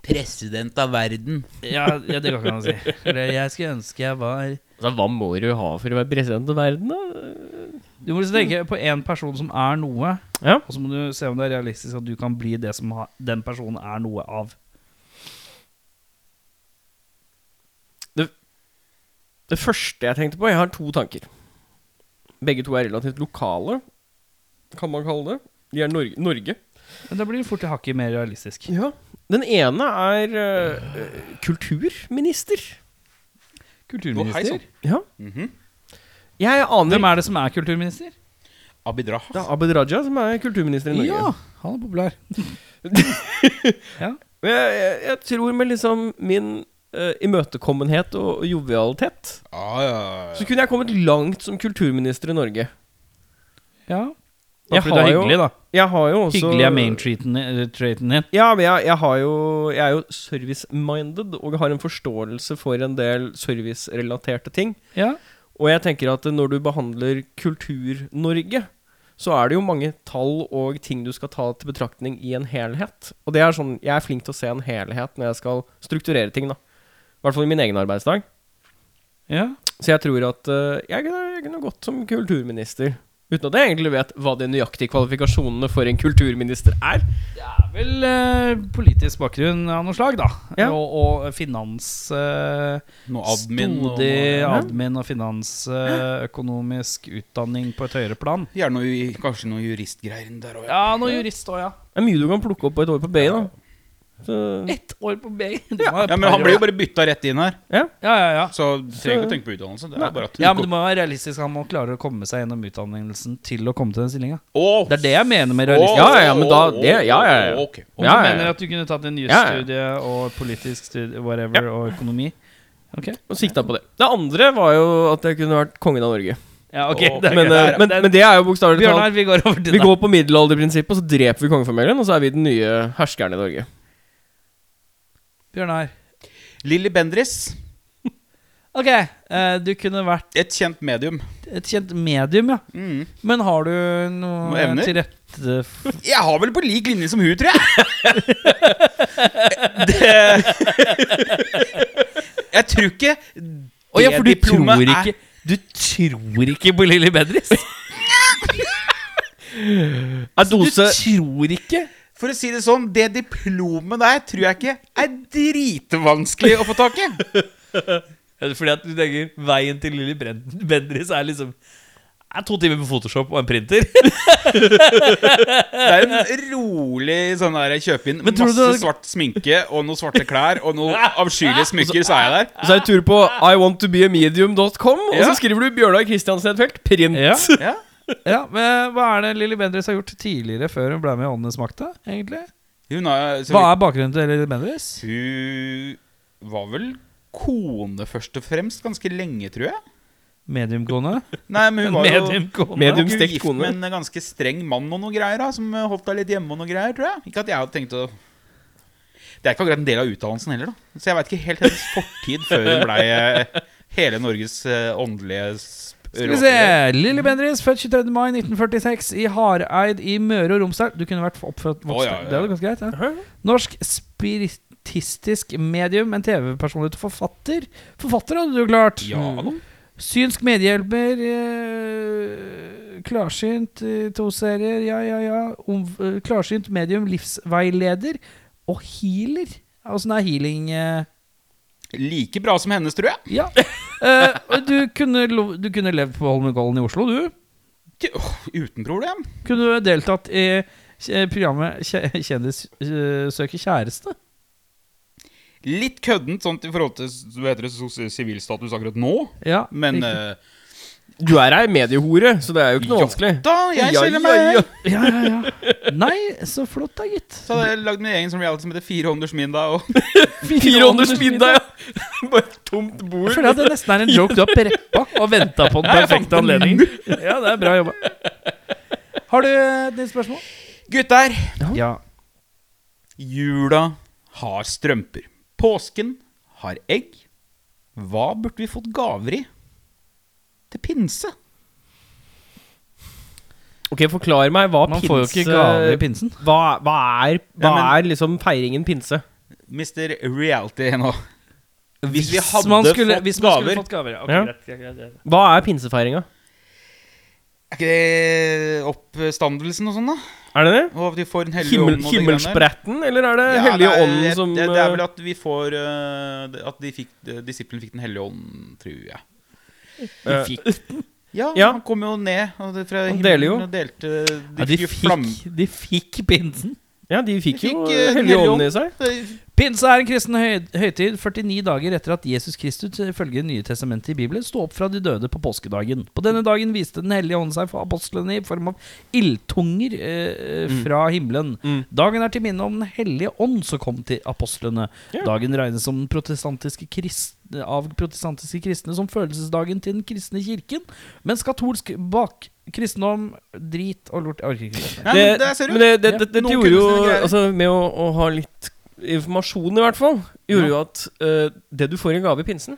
President av verden.
ja, ja, det kan ikke han si. Eller jeg skulle ønske jeg var
altså, Hva må du ha for å være president av verden, da?
Du må liksom tenke på én person som er noe,
Ja.
og så må du se om det er realistisk at du kan bli det som ha, den personen er noe av.
Det første jeg tenkte på Jeg har to tanker. Begge to er relativt lokale, kan man kalle det. De er Norge. Norge.
Men da blir det fort til hakket mer realistisk.
Ja. Den ene er eh, kulturminister.
Kulturminister?
Ja. Jeg aner
Hvem er det som er kulturminister?
Abid Raja.
Det er Abid Raja som er kulturminister i Norge.
Ja, han er populær.
Men Jeg, jeg, jeg tror med liksom min eh, imøtekommenhet og, og jovialitet
Ja, ja, ja.
så kunne jeg kommet langt som kulturminister i Norge.
Ja.
Jeg
Fordi du er
har jo-
hyggelig, da.
Jeg har jo også
Hyggelig er main-treaten din.
Ja, men jeg, jeg, har jo, jeg er jo service-minded, og har en forståelse for en del servicerelaterte ting.
Ja.
Og jeg tenker at når du behandler Kultur-Norge, så er det jo mange tall og ting du skal ta til betraktning i en helhet. Og det er sånn, jeg er flink til å se en helhet når jeg skal strukturere ting, da. I hvert fall i min egen arbeidsdag.
ja.
Så jeg tror at eh, jeg, kunne, jeg kunne gått som kulturminister. Uten at jeg egentlig vet hva de nøyaktige kvalifikasjonene for en kulturminister er.
Vel, eh, politisk bakgrunn av noe slag, da.
Ja.
Og, og finans... Eh,
Noe admin og
Stod i
noe,
admin og finans, eh, økonomisk utdanning på et høyere plan.
Gjerne noe, ju- kanskje noe juristgreier der òg.
Ja, noe jurist òg, ja.
Det er mye du kan plukke opp på et år på BI, da. Så,
Ett år på BI.
Ja, men han ble jo bare bytta rett inn her,
ja.
ja, ja, ja.
så du trenger ikke å tenke på utdannelse. Det er bare at du
ja, men du må være realistisk. Han må klare å komme seg gjennom utdannelsen til å komme til den stillinga.
Åh,
Det er det jeg mener med
åh,
realistisk.
Ja, ja, men da-
åh,
det- ja, ja, ja.
åh,
Om
ok.
Ja,
du
ja, ja.
mener at du kunne tatt en
Ja, ja.
jusstudie og politisk studie whatever, og økonomi. Ok.
Og sikta på det. Det andre var jo at jeg kunne vært kongen av Norge.
Ja, ok.
Åh,
det er
Men,
greit.
eh, men, men det er jo bokstavelig
Bjørnar,
talt
vi går over til
Vi
deg.
går på middelalderprinsippet, og så dreper vi kongefamilien, og så er vi den nye herskeren i Norge.
Bjørnar.
Lilly Bendris,
Ok, eh, du kunne vært
et kjent medium.
et kjent medium, ja.
Mm.
Men har du noe
Noe evner?
til rette for
Jeg har vel på lik linje som hun, tror jeg. det Jeg tror ikke
Å ja, for du
det diplomet
tror
er-
ikke Du tror ikke på Lilly Bendriss?
Er
Du
dose
tror ikke?
For å si det sånn, det diplomet der tror jeg ikke er dritvanskelig å få tak i.
Ja, det er Fordi at du tenker veien til Lilly Bren- Bendriss er liksom er to timer på Photoshop og en printer.
Det er en rolig sånn der jeg kjøper inn
Men tror du Altså,
masse
det-
svart sminke og noen svarte klær og noen avskyelige smykker, så er jeg der.
Så er det tur på iwanttobeamedium.com, og så
Ja.
skriver du Bjørnar Kristiansen i et felt. Print.
Ja.
Ja.
ja, men eh, Hva er det Lilly Bendriss har gjort tidligere, før hun ble med i Åndenes makt? da, egentlig?
Hun, er, så
Hva er bakgrunnen til Lilly Bendriss?
vidt- hun var vel kone først og fremst ganske lenge, tror jeg.
Mediumkone?
Nei, men hun var jo
Mediumkone?
Med-
hun var
Mediumstekt
jo gift
kone.
med en eh, ganske streng mann og noe greier, da, som eh, holdt deg litt hjemme og noe greier, tror jeg. Ikke at jeg hadde tenkt å Det er ikke akkurat en del av utdannelsen heller, da. Så jeg veit ikke helt hennes fortid før hun blei eh, hele Norges eh, åndelige sp-
Skal vi se Lilly Bendriss, født 23. mai 1946 i Hareid i Møre og Romsdal. Du kunne vært oppfødt voksen.
Å, ja, ja, ja.
Det er jo ganske greit, ja.
Hæ?
Norsk spiritistisk medium, en TV-personlighet og forfatter. Forfatter hadde du klart. Mm.
Ja da.
Synsk medhjelper. Eh, klarsynt eh, to serier, ja, ja, ja. Om, eh, klarsynt medium, livsveileder og healer. Åssen er healing eh?
Like bra som hennes, tror jeg.
Ja. Eh, og du, kunne, lo- du kunne levd på Holmenkollen i Oslo, du.
Ikke- åh, Uten problem.
Kunne du deltatt i eh, programmet Kje- Kjendis eh, søker kjæreste?
Litt køddent sånt i forhold til du heter det, sos- sivilstatus akkurat nå,
Ja,
men
riktig.
eh,
Du er ei mediehore, så det er jo ikke noe
Ja.
vanskelig.
da jeg
Ja, ja,
skiller meg
ja.
ja, ja, ja. Nei, så flott da, gitt.
Så hadde jeg lagd min egen som reality som heter Firehånders middag. Og
Fire ånders middag, ja. Bare et tomt
Jeg
bord.
føler at det nesten er en joke du har preppa og venta på den perfekte anledningen. Ja, det er bra jobba. Har du et nytt spørsmål?
gutter,
Ja.
jula har strømper. Påsken har egg. Hva burde vi fått gaver i til pinse?
Ok, forklar meg hva
Man
pinse
får jo ikke gaver i pinsen.
Hva, hva, er, hva
Ja,
er liksom feiringen pinse?
Mister Reality nå. Hvis vi hadde
man skulle,
fått
hvis man
gaver.
skulle fått gaver. Ja. Ok,
Ja.
greit, greit, greit, greit.
Hva er pinsefeiringa?
Er ikke det oppstandelsen og sånn, da?
Er det det?
Og at vi får en hellig
Himmel,
ånd og de greiene der?
himmelspretten, eller er det
Ja,
Hellige
det er-
Ånden
jeg-
som
det, det er vel
eh,
at vi får eh, det- At de fikk, de- disiplene fikk Den hellige ånd, tror jeg.
eh,
Ja,
Ja.
han kom jo ned og det, fra
Han
himmelen
deler jo.
og delte De
Ja, de,
fikk jo flam...
fikk, de fikk pinsen.
Ja, de fikk
De
jo
fikk, eh,
eh,
Den
Hellige
hellige
Ånden i seg.
Pinse er en kristen høy høytid 49 dager etter at Jesus Kristus eh, ifølge Nye testamentet i Bibelen sto opp fra de døde på påskedagen. På denne dagen viste Den hellige ånd seg for apostlene i form av ildtunger eh, fra himmelen. Dagen er til minne om Den hellige ånd som kom til apostlene.
Ja.
Dagen regnes som den protestantiske krist- av protestantiske kristne som følelsesdagen til den kristne kirken, mens katolsk bak kristendom, drit og lort Jeg orker ikke lese.
Ja, men der ser du.
men det, det, det,
Ja.
dette
Noen
gjorde jo
kunstnere greier.
altså, Med å, å ha litt informasjon, i hvert fall, gjorde jo at eh, det du får i gave i pinsen,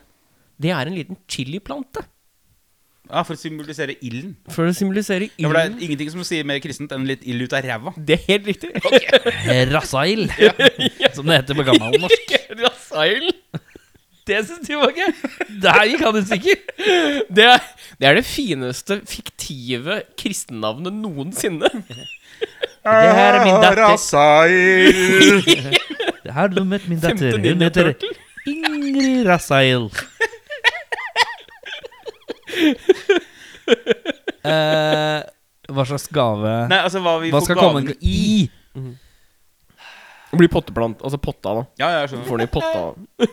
det er en liten chiliplante.
Ja, For å symbolisere ilden.
For å symbolisere
Ja, for det
ilden.
er ingenting som sier mer kristent enn litt ild ut av ræva.
Det er helt riktig.
Rasaild, som det heter på gammelnorsk.
Rasail. altså Det syns du var gøy. Der gikk han i stykker. Det, er- det er det fineste fiktive kristennavnet noensinne.
Det her er min datter.
Rasaild.
Her har du møtt min
Femte
datter. Hun heter
ninjaturtle.
Ingrid Rasail. Eh, hva slags gave
Nei, altså, hva vi
Hva
får
skal
gaven-
komme i?
Det blir potteplant. Altså potta, da.
Ja, ja, jeg
Du
skjønner.
får den i potta.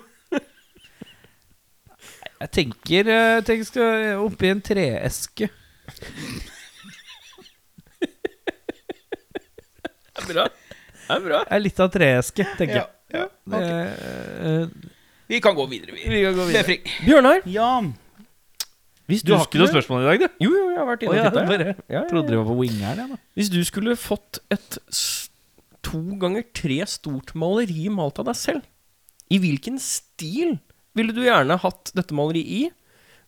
Jeg tenker, eh, jeg tenker skal oppi en treeske.
Det er bra. Det er bra.
Det er litt av treeske, tenker
Ja,
jeg.
ja.
Det, eh,
Vi kan gå videre, vi.
vi kan gå videre.
Befring.
Bjørnar,
Jan.
hvis
Du har ikke noe
skulle-
spørsmål i dag, du?
Jo, jo, jeg har vært
Å,
inne
ja,
og titta.
bare,
Ja, ja,
trodde du var på wingeren, jeg, da.
Hvis du skulle fått et s- to ganger tre stort maleri malt av deg selv, i hvilken stil ville du gjerne hatt dette maleriet i?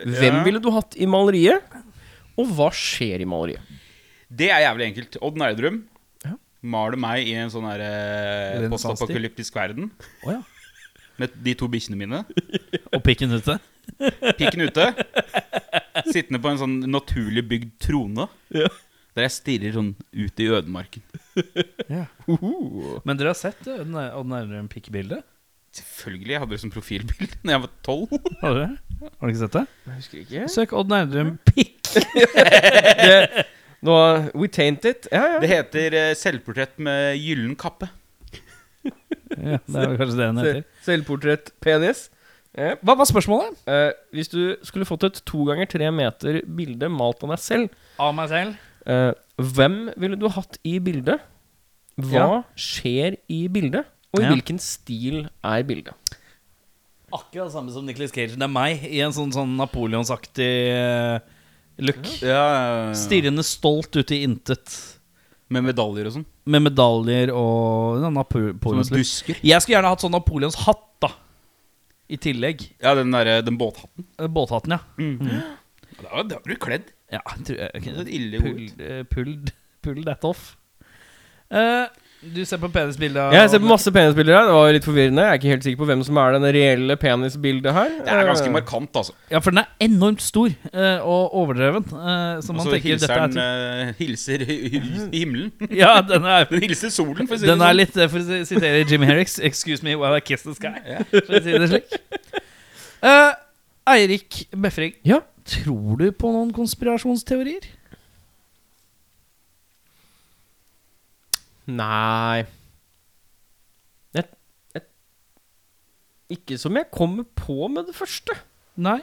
Hvem
Ja.
ville du hatt i maleriet? Og hva skjer i maleriet?
Det er jævlig enkelt. Odd Nerdrum
Ja.
maler meg i en sånn her eh,
Renessansstil.
postapokalyptisk verden
Å ja.
med de to bikkjene mine.
Og pikken ute.
Pikken ute. Sittende på en sånn naturlig bygd trone.
Ja.
Der jeg stirrer sånn ut i ødemarken.
Men dere har sett eh, Odd Nærum pikkebildet?
Selvfølgelig. Jeg hadde det som profilbilde da jeg var tolv.
Har dere? Har dere ikke sett det?
Jeg husker ikke.
Søk Odd Nærum pikk.
Nå, we taint it. Ja,
Det heter eh, 'Selvportrett med gyllen kappe'.
Ja, det er kanskje det den heter.
Selvportrett penis. Eh,
Hva var spørsmålet?
hvis du skulle fått et to ganger tre meter bilde malt av deg selv,
Av meg selv.
Eh, hvem ville du hatt i bildet? Hva
Ja.
skjer i bildet? Og i
Ja.
hvilken stil er bildet?
Akkurat det samme som Nicholas Cage. Det er meg i en sånn, sånn napoleonsaktig eh, look.
Ja,
Stirrende stolt ut i intet.
Med medaljer og sånn.
Med medaljer og ja,
Sånne
Napoleons
busker.
Jeg skulle gjerne hatt sånn Napoleons hatt, da. I tillegg.
Ja, den, der, eh, den båthatten.
Eh, Båthatten, ja.
Ja, Da da blir du kledd.
Ja, jeg tror jeg,
Det er et ille
pull, eh, pull, pull that off. Eh, du ser på penisbildet av
Jeg ser på masse penisbilder her. Det var litt forvirrende. Jeg er ikke helt sikker på hvem som er den reelle penisbildet her.
Det er ganske
Eh,
markant, altså.
Ja, for den er enormt stor eh, og overdreven. eh, så man
Altså,
Og så
tenker
hilser
dette er
den eh, hilser i i himmelen.
eh.
til- Ja, den er,
Den hilser solen, for å si det
den er
sånn.
litt eh, For å sitere Jim Herricks 'Excuse me while I kiss the sky'. For å si det slik. Eh, Eirik Befring,
Ja.
tror du på noen konspirasjonsteorier?
Nei jeg, jeg, Ikke som jeg kommer på med det første.
Nei?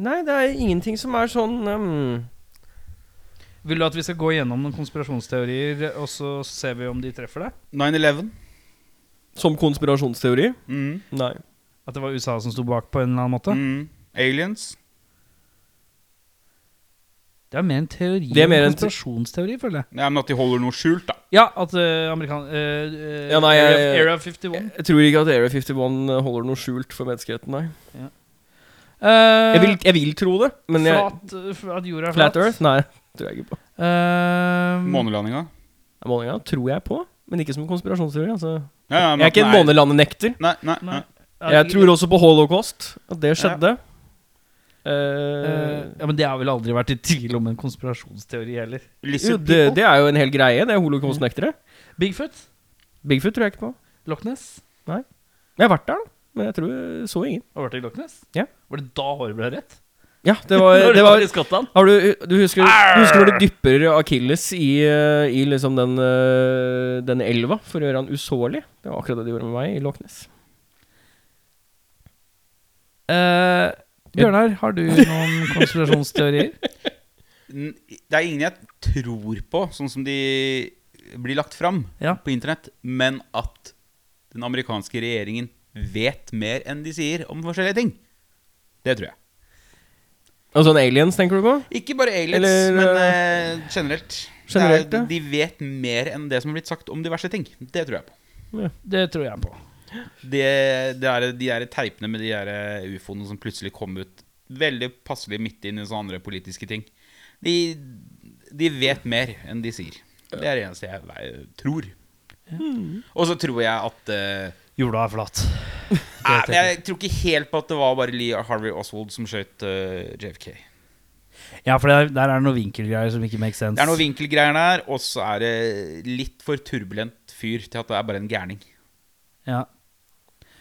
Nei, det er ingenting som er sånn ehm,
Vil du at vi skal gå gjennom noen konspirasjonsteorier, og så ser vi om de treffer deg?
9-11.
Som konspirasjonsteori?
Mm.
Nei.
At det var USA som sto bak på en eller annen måte?
Mm. Aliens.
Det er mer en teori
Det er mer
enn
en te-
konspirasjonsteori, føler jeg.
Ja, men at de holder noe skjult, da.
Ja, at eh, amerikan... eh, eh,
Ja, nei, jeg-
Area- Area 51.
Jeg tror ikke at Area 51 holder noe skjult for menneskeheten, nei.
Eh,
Jeg vil, jeg vil tro det, men jeg
flat, eh, at jorda er flat.
Flat Earth? Nei, tror jeg ikke på.
Eh,
Månelandinga.
Målinga tror jeg på, men ikke som konspirasjonsteori. Altså.
Ja, ja, men
Jeg er
at
ikke
den
en månelandnekter.
Nei, nei, nei.
Nei.
Jeg tror også på holocaust, at det skjedde.
Eh,
Eh,
ja, Men det har vel aldri vært i tvil om en konspirasjonsteori heller.
jo,
Lizard
det,
people.
det er jo en hel greie, det er holocaust-nektere.
Bigfoot?
Bigfoot tror jeg ikke på.
Loch Ness?
Jeg har vært der, da. Men jeg tror eh, så ingen.
Har du vært i Loch Ness?
Ja.
Var det da håret ble rett?
Ja, det var,
Når du
det var
i Skottland?
har du, du, husker, du husker når du dypper akilles i, eh, i liksom den, eh, den elva for å gjøre han usårlig? Det var akkurat det de gjorde med meg i Loch Ness.
Eh, Bjørnar, har du noen konspirasjonsteorier?
N- Det er ingen jeg tror på, sånn som de blir lagt fram
Ja.
på internett, men at den amerikanske regjeringen vet mer enn de sier om forskjellige ting. Det tror jeg.
Altså en aliens, tenker du på?
Ikke bare aliens,
Eller, øh,
men eh, generelt. Det er-
generelt, ja.
De vet mer enn det som har blitt sagt om diverse ting. Det tror jeg på.
Det tror jeg på.
Det, det er, de der teipene med de der ufoene som plutselig kom ut veldig passelig midt inn i sånne andre politiske ting. De, de vet mer enn de sier. Det er det eneste jeg vei- tror. Og så tror jeg at eh,
Jorda er flat.
nei, men Jeg tror ikke helt på at det var bare Lee Harvey Oswald som skjøt eh, JFK.
Ja, for der, der er det noen vinkelgreier som ikke makes sense.
Det er noen vinkelgreier der, og så er det litt for turbulent fyr til at det er bare en gærning.
Ja.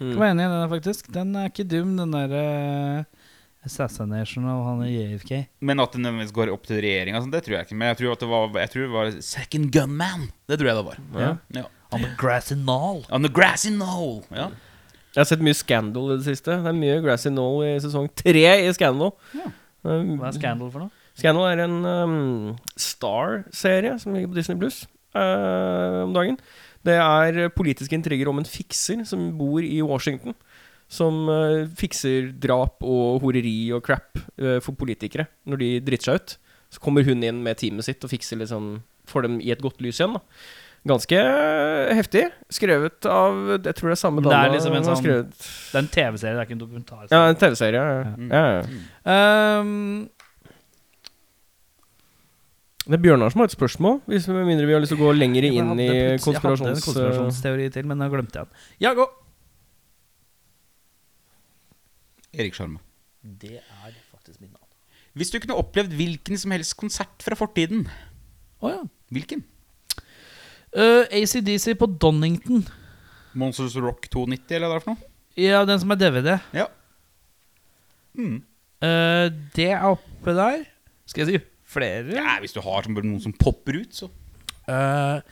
Hmm.
Jeg var enig i den, faktisk. Den er ikke dum, den der eh, Assassination av han i JFK.
Men at det nødvendigvis går opp til regjeringa, det tror jeg ikke. Men jeg tror, at det var, jeg tror det var second gunman. Det tror jeg det var.
Ja.
Ja.
Han med grass and all.
On the grass in the hole. Ja.
Jeg har sett mye Scandal i det siste. Det er mye Grassy Knoll i sesong tre i Scandal.
Ja.
Um,
Hva er scandal for noe?
Scandal er en um, Star-serie som ligger på Disney Pluss eh, om dagen. Det er politiske intriger om en fikser som bor i Washington. Som eh, fikser drap og horeri og crap eh, for politikere når de driter seg ut. Så kommer hun inn med teamet sitt og fikser litt sånn Får dem i et godt lys igjen, da. Ganske eh, heftig. Skrevet av Jeg tror det er samme
Men det
dama
er liksom en
som har
sånn-
skrevet
Det er en TV-serie, det er ikke en dokumentar.
Ja, en TV-serie. Ja.
Ja.
Ja. ja.
Ehm,
Det er Bjørnar som har et spørsmål, hvis med mindre vi har lyst til å gå lenger
jeg
inn
hadde
i
plutselig- Jeg hadde en
konspirasjons...
konspirasjonsteori til, men da glemte jeg den. Ja, gå!
Erik Sjarma.
Det er faktisk min navn.
Hvis du kunne opplevd hvilken som helst konsert fra fortiden,
Å ja.
hvilken?
Eh, ACDC på Donington.
Monsters Rock 290, eller hva det er for noe?
Ja, den som er DVD.
Ja. Mm.
Eh, det er oppe der. Skal jeg si flere?
ja hvis du har som bare noen som popper ut, så.
Eh,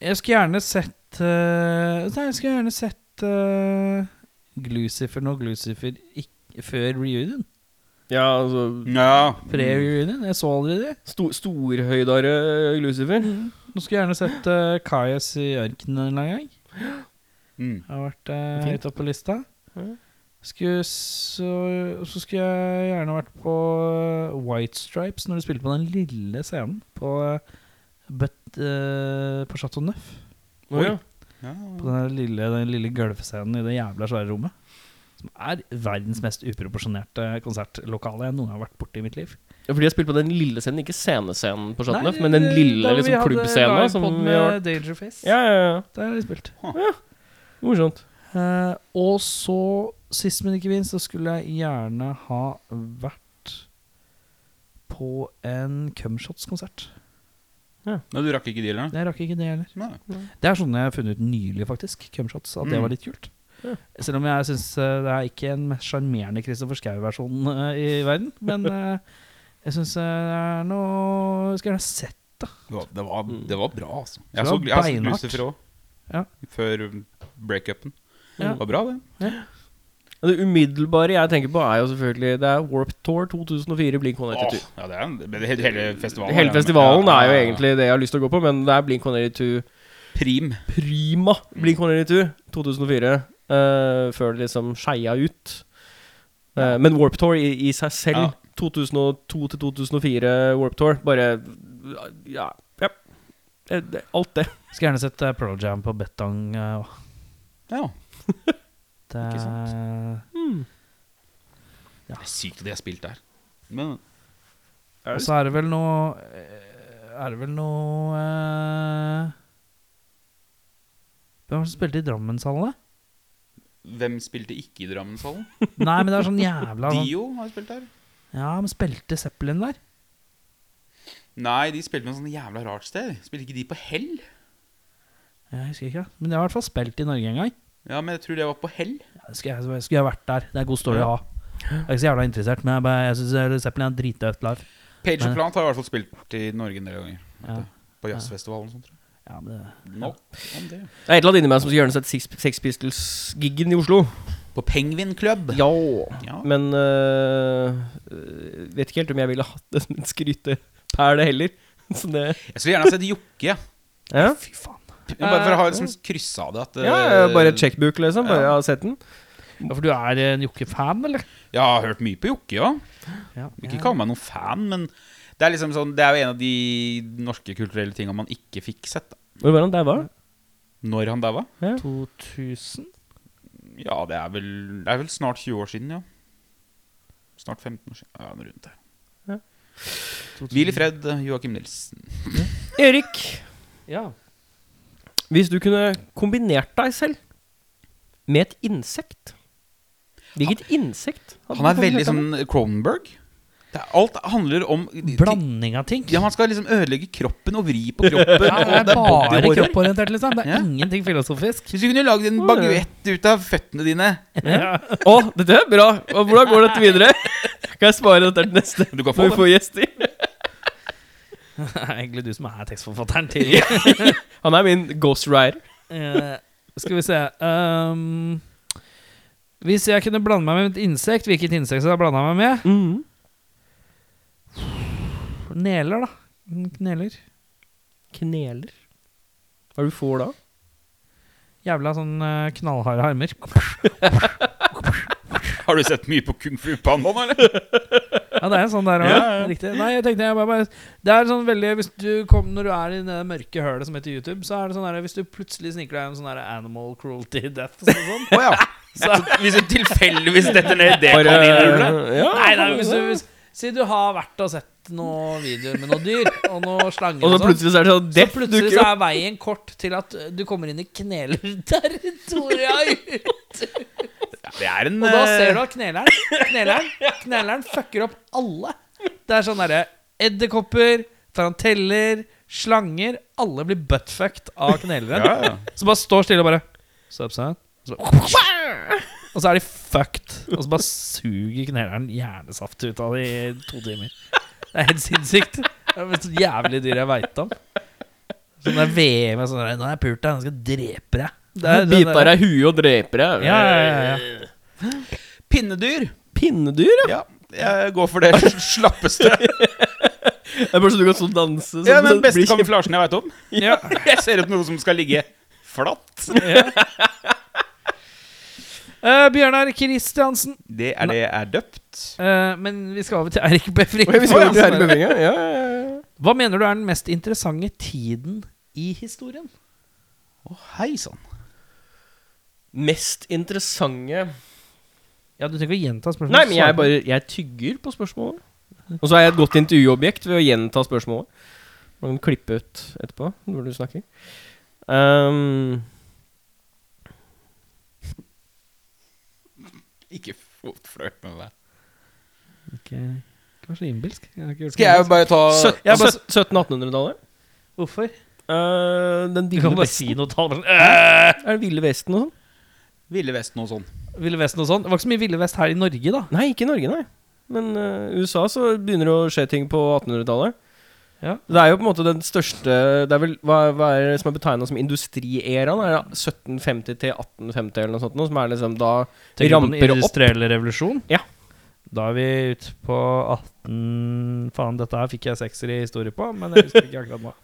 jeg skulle gjerne sett eh, Nei, jeg skulle gjerne sett eh, Glucifer nå. Glucifer ikk- før reunion.
Ja, altså
Ja.
Pre-reunion. Jeg så aldri det.
sto, Storhøydare Lucifer.
Nå skulle jeg gjerne sett uh, Kajas i ørkenen en eller annen gang.
Mm.
Har vært eh,
Fint.
høyt oppe på lista.
Mhm.
Skulle så, så skulle jeg gjerne vært på eh, White Stripes når de spilte på den lille scenen på, uh, på Chateau Neuf.
Oi. Ja.
Ja.
På den,
Mm.
her lille, den lille gulvscenen i det jævla svære rommet. Som er verdens mest uproporsjonerte konsertlokale jeg noen gang har vært borti i mitt liv.
Fordi jeg spilte på den lille scenen, ikke scenescenen på Chateau Neuf,
Nei,
men den
da
lille
vi
liksom,
hadde
klubbscenen
livepod
som vi har
med Dangerface.
Ja, ja, ja.
Der har de spilt.
Morsomt.
Eh, og så, sist men ikke minst, så skulle jeg gjerne ha vært på en Cumshots-konsert.
Nei, du rakk ikke dealeren?
Jeg rakk ikke det heller.
Nei.
Det er sånne jeg har funnet ut nylig, faktisk. Cumshots. At det
Mm.
var litt kult.
Ja.
Selv om jeg syns det er ikke den mest sjarmerende Christopher Schou-versjonen eh, i verden. Men eh, jeg syns det er noe Skulle gjerne sett
Det var, det var, det var bra, altså.
det
Jeg så,
var
jeg så
beinhardt.
Lucifer òg.
Ja.
Før breakupen.
Ja.
Det var bra, det.
Mm. Det umiddelbare jeg tenker på, er jo selvfølgelig Det er Warp Tour 2004 Blink
Åh,
182.
ja, det er, en- det- hele, hele festivalen.
Hele festivalen er jo egentlig det jeg har lyst til å gå på, men det er Blink 182
Prim.
prima Blink 182 2004, eh, før det liksom skeia ut. Eh, men Warp Tour i, i seg selv,
Ja.
2002 til 2004 Warp Tour, bare Ja. ja. Eh, det- Alt det.
Skulle gjerne sett eh, Pearl Jam på Betong. eh, og
Ja.
det,
Ikke
eh,
Hmm.
Det er sykt at de har spilt der. Men
Og så er det vel noe eh, Er det vel noe eh, Hvem var det som spilte i Drammenshallen? da?
hvem spilte ikke i Drammenshallen?
Nei, men det er sånn jævla sånn.
Dio har spilt der.
Ja, men spilte Zeppelin der?
Nei, de spilte med en sånn jævla rart sted. Spilte ikke de på Hell?
Jeg husker ikke. Men det har i hvert fall spilt i Norge en gang.
Ja, men jeg tror det var på Hell.
Ja, Skulle jeg, skulle jeg vært der. Det er god story å ha. Jeg er ikke så jævla interessert, men jeg, bare- jeg syns Zeppelin er dritdødt live.
Page
Nei.
of Plant har i hvert fall spilt i Norge en del ganger.
Ja.
På jazzfestivalen og sånt, tror jeg.
Ja, men det,
Nok om det.
Det er et eller annet inni meg som skulle gjerne sett Six, Sex Pistols-giggen i Oslo.
På Penguin Club.
Ja,
Ja.
men øh, øh, vet ikke helt om jeg ville hatt en skryteperle heller. Så det
Jeg skulle gjerne ha sett Jokke.
ja.
Fy faen.
Bare for å ha liksom kryssa det. At,
ja,
eh,
bare et checkbook, liksom. Bare jeg har sett den.
Ja, for du er en Jokke-fan, eller?
Jeg har hørt mye på Jokke, ja.
Ja.
Ikke kall meg noen fan, men det er liksom sånn Det er jo en av de norske kulturelle tinga man ikke fikk sett. da
Hvor var han der, var?
Når han daua?
2000?
Ja, det er vel Det er vel snart 20 år siden, ja. Snart 15 år siden. Ja, noe rundt der.
Ja.
Hvil i fred, Joakim Nilsen.
Erik,
Ja.
hvis du kunne kombinert deg selv med et insekt Hvilket insekt? hadde
Han
du
er
kombinert
veldig
deg
sånn
med?
Cronenberg. Det er, alt handler om
Blanding av ting.
Ja, man skal liksom ødelegge kroppen og vri på kroppen.
Ja, det er
og
bare
bodyhorror.
kropporientert, liksom. Det er
Ja.
ingenting filosofisk.
Hvis du kunne lagd en baguett ut av føttene dine
Å, dette er bra! Og hvordan går dette videre? Kan jeg spare dette til neste
Du kan få
når vi
det.
får gjester?
Det er egentlig du som er tekstforfatteren til
Han er min ghostwriter.
Eh, Skal vi se ehm, Hvis jeg kunne blande meg med et insekt, hvilket insekt skal jeg blande meg med?
Mm.
Neler, da. Kneler.
Kneler. Hva er det du får da?
Jævla sånn eh, knallharde armer.
Har du sett mye på Kung Fu Pandaen, eller?
Ja, det er en sånn der òg.
Ja, ja.
Riktig. Nei, jeg tenkte jeg bare, bare Det er sånn veldig Hvis du kom, Når du er i det mørke hølet som heter YouTube, så er det sånn der Hvis du plutselig sniker deg en sånn der animal cruelty death og sånn
Å ja. Så hvis du tilfeldigvis detter ned i det kaninhullet
ja,
Nei, nei, hvis du hvis, Si du har vært og sett noen videoer med noen dyr, og noen slanger
Og
og
så
sånn.
plutselig så er det sånn
Så
Death
plutselig
dukker
så
opp.
er veien kort til at eh, du kommer inn i knelerterritoriet.
Det er en
Og da ser du
eh,
at kneleren Kneleren, kneleren fucker opp alle. Det er sånn derre edderkopper, taranteller, slanger Alle blir buttfucked av kneleren.
ja, ja.
Som bare står stille og bare Sup, son? Og så bare- Og så er de fucked. Og så bare suger kneleren hjernesaft ut av det i to timer. Det er helt sinnssykt. Det er det mest jævlige dyret jeg veit om. Sånn der VM og sånn der, 'Nå har jeg pult deg, nå skal jeg drepe deg'. Det er- den
Biter
der-
deg i huet og dreper deg.
Ja, ja, ja, ja.
Pinnedyr.
Pinnedyr, ja.
eh, Ja, jeg går for det sl- slappeste.
Det er bare så du kan sånn danse. Sånn,
Ja, den
så det
beste
blir kjempe-
kamuflasjen jeg veit om.
Ja.
Jeg ser ut noe som skal ligge flatt.
Eh, Bjørnar Kristiansen.
Det er det jeg er døpt.
Eh, men vi skal over til Eirik Befring.
Oi, vi skal
Å, ja,
over til
sånn er det.
herrebevegingen. Ja, ja, ja.
Hva mener du er den mest interessante tiden i historien?
Å, hei sånn. sann.
Mest interessante
Ja, Du trenger ikke å gjenta spørsmålet.
Nei, men jeg bare Jeg tygger på spørsmålet. Og så er jeg et godt intervjuobjekt ved å gjenta spørsmålet. Man kan klippe ut etterpå når du snakker. Ehm,
Ikke flørt med meg.
Ikke, ikke vær så innbilsk. Jeg har ikke gjort
Skal jeg
noe.
bare ta
søt- altså,
jeg bare-
søt- 1700-1800-tallet.
Hvorfor?
Eh, den
Du
ville
kan bare
vesten.
si noe tall. men, øh!
Er det Ville Vesten og sånn?
Ville Vesten og sånn?
Ville Vesten og sånn. Det var ikke så mye Ville Vest her i Norge, da.
Nei, ikke i Norge, nei. Men eh, USA så begynner det å skje ting på 1800-tallet.
Ja.
Det er jo på en måte den største Det er vel hva, hva er det som er betegna som industrieraen? Er det 1750 til 1850 eller noe sånt? Noe, som er liksom da
Tenker du på
Ramper
den
opp.
industrielle revolusjon?
Ja.
Da er vi ute på 18 Faen, dette her fikk jeg sekser i historie på, men jeg husker ikke akkurat nå.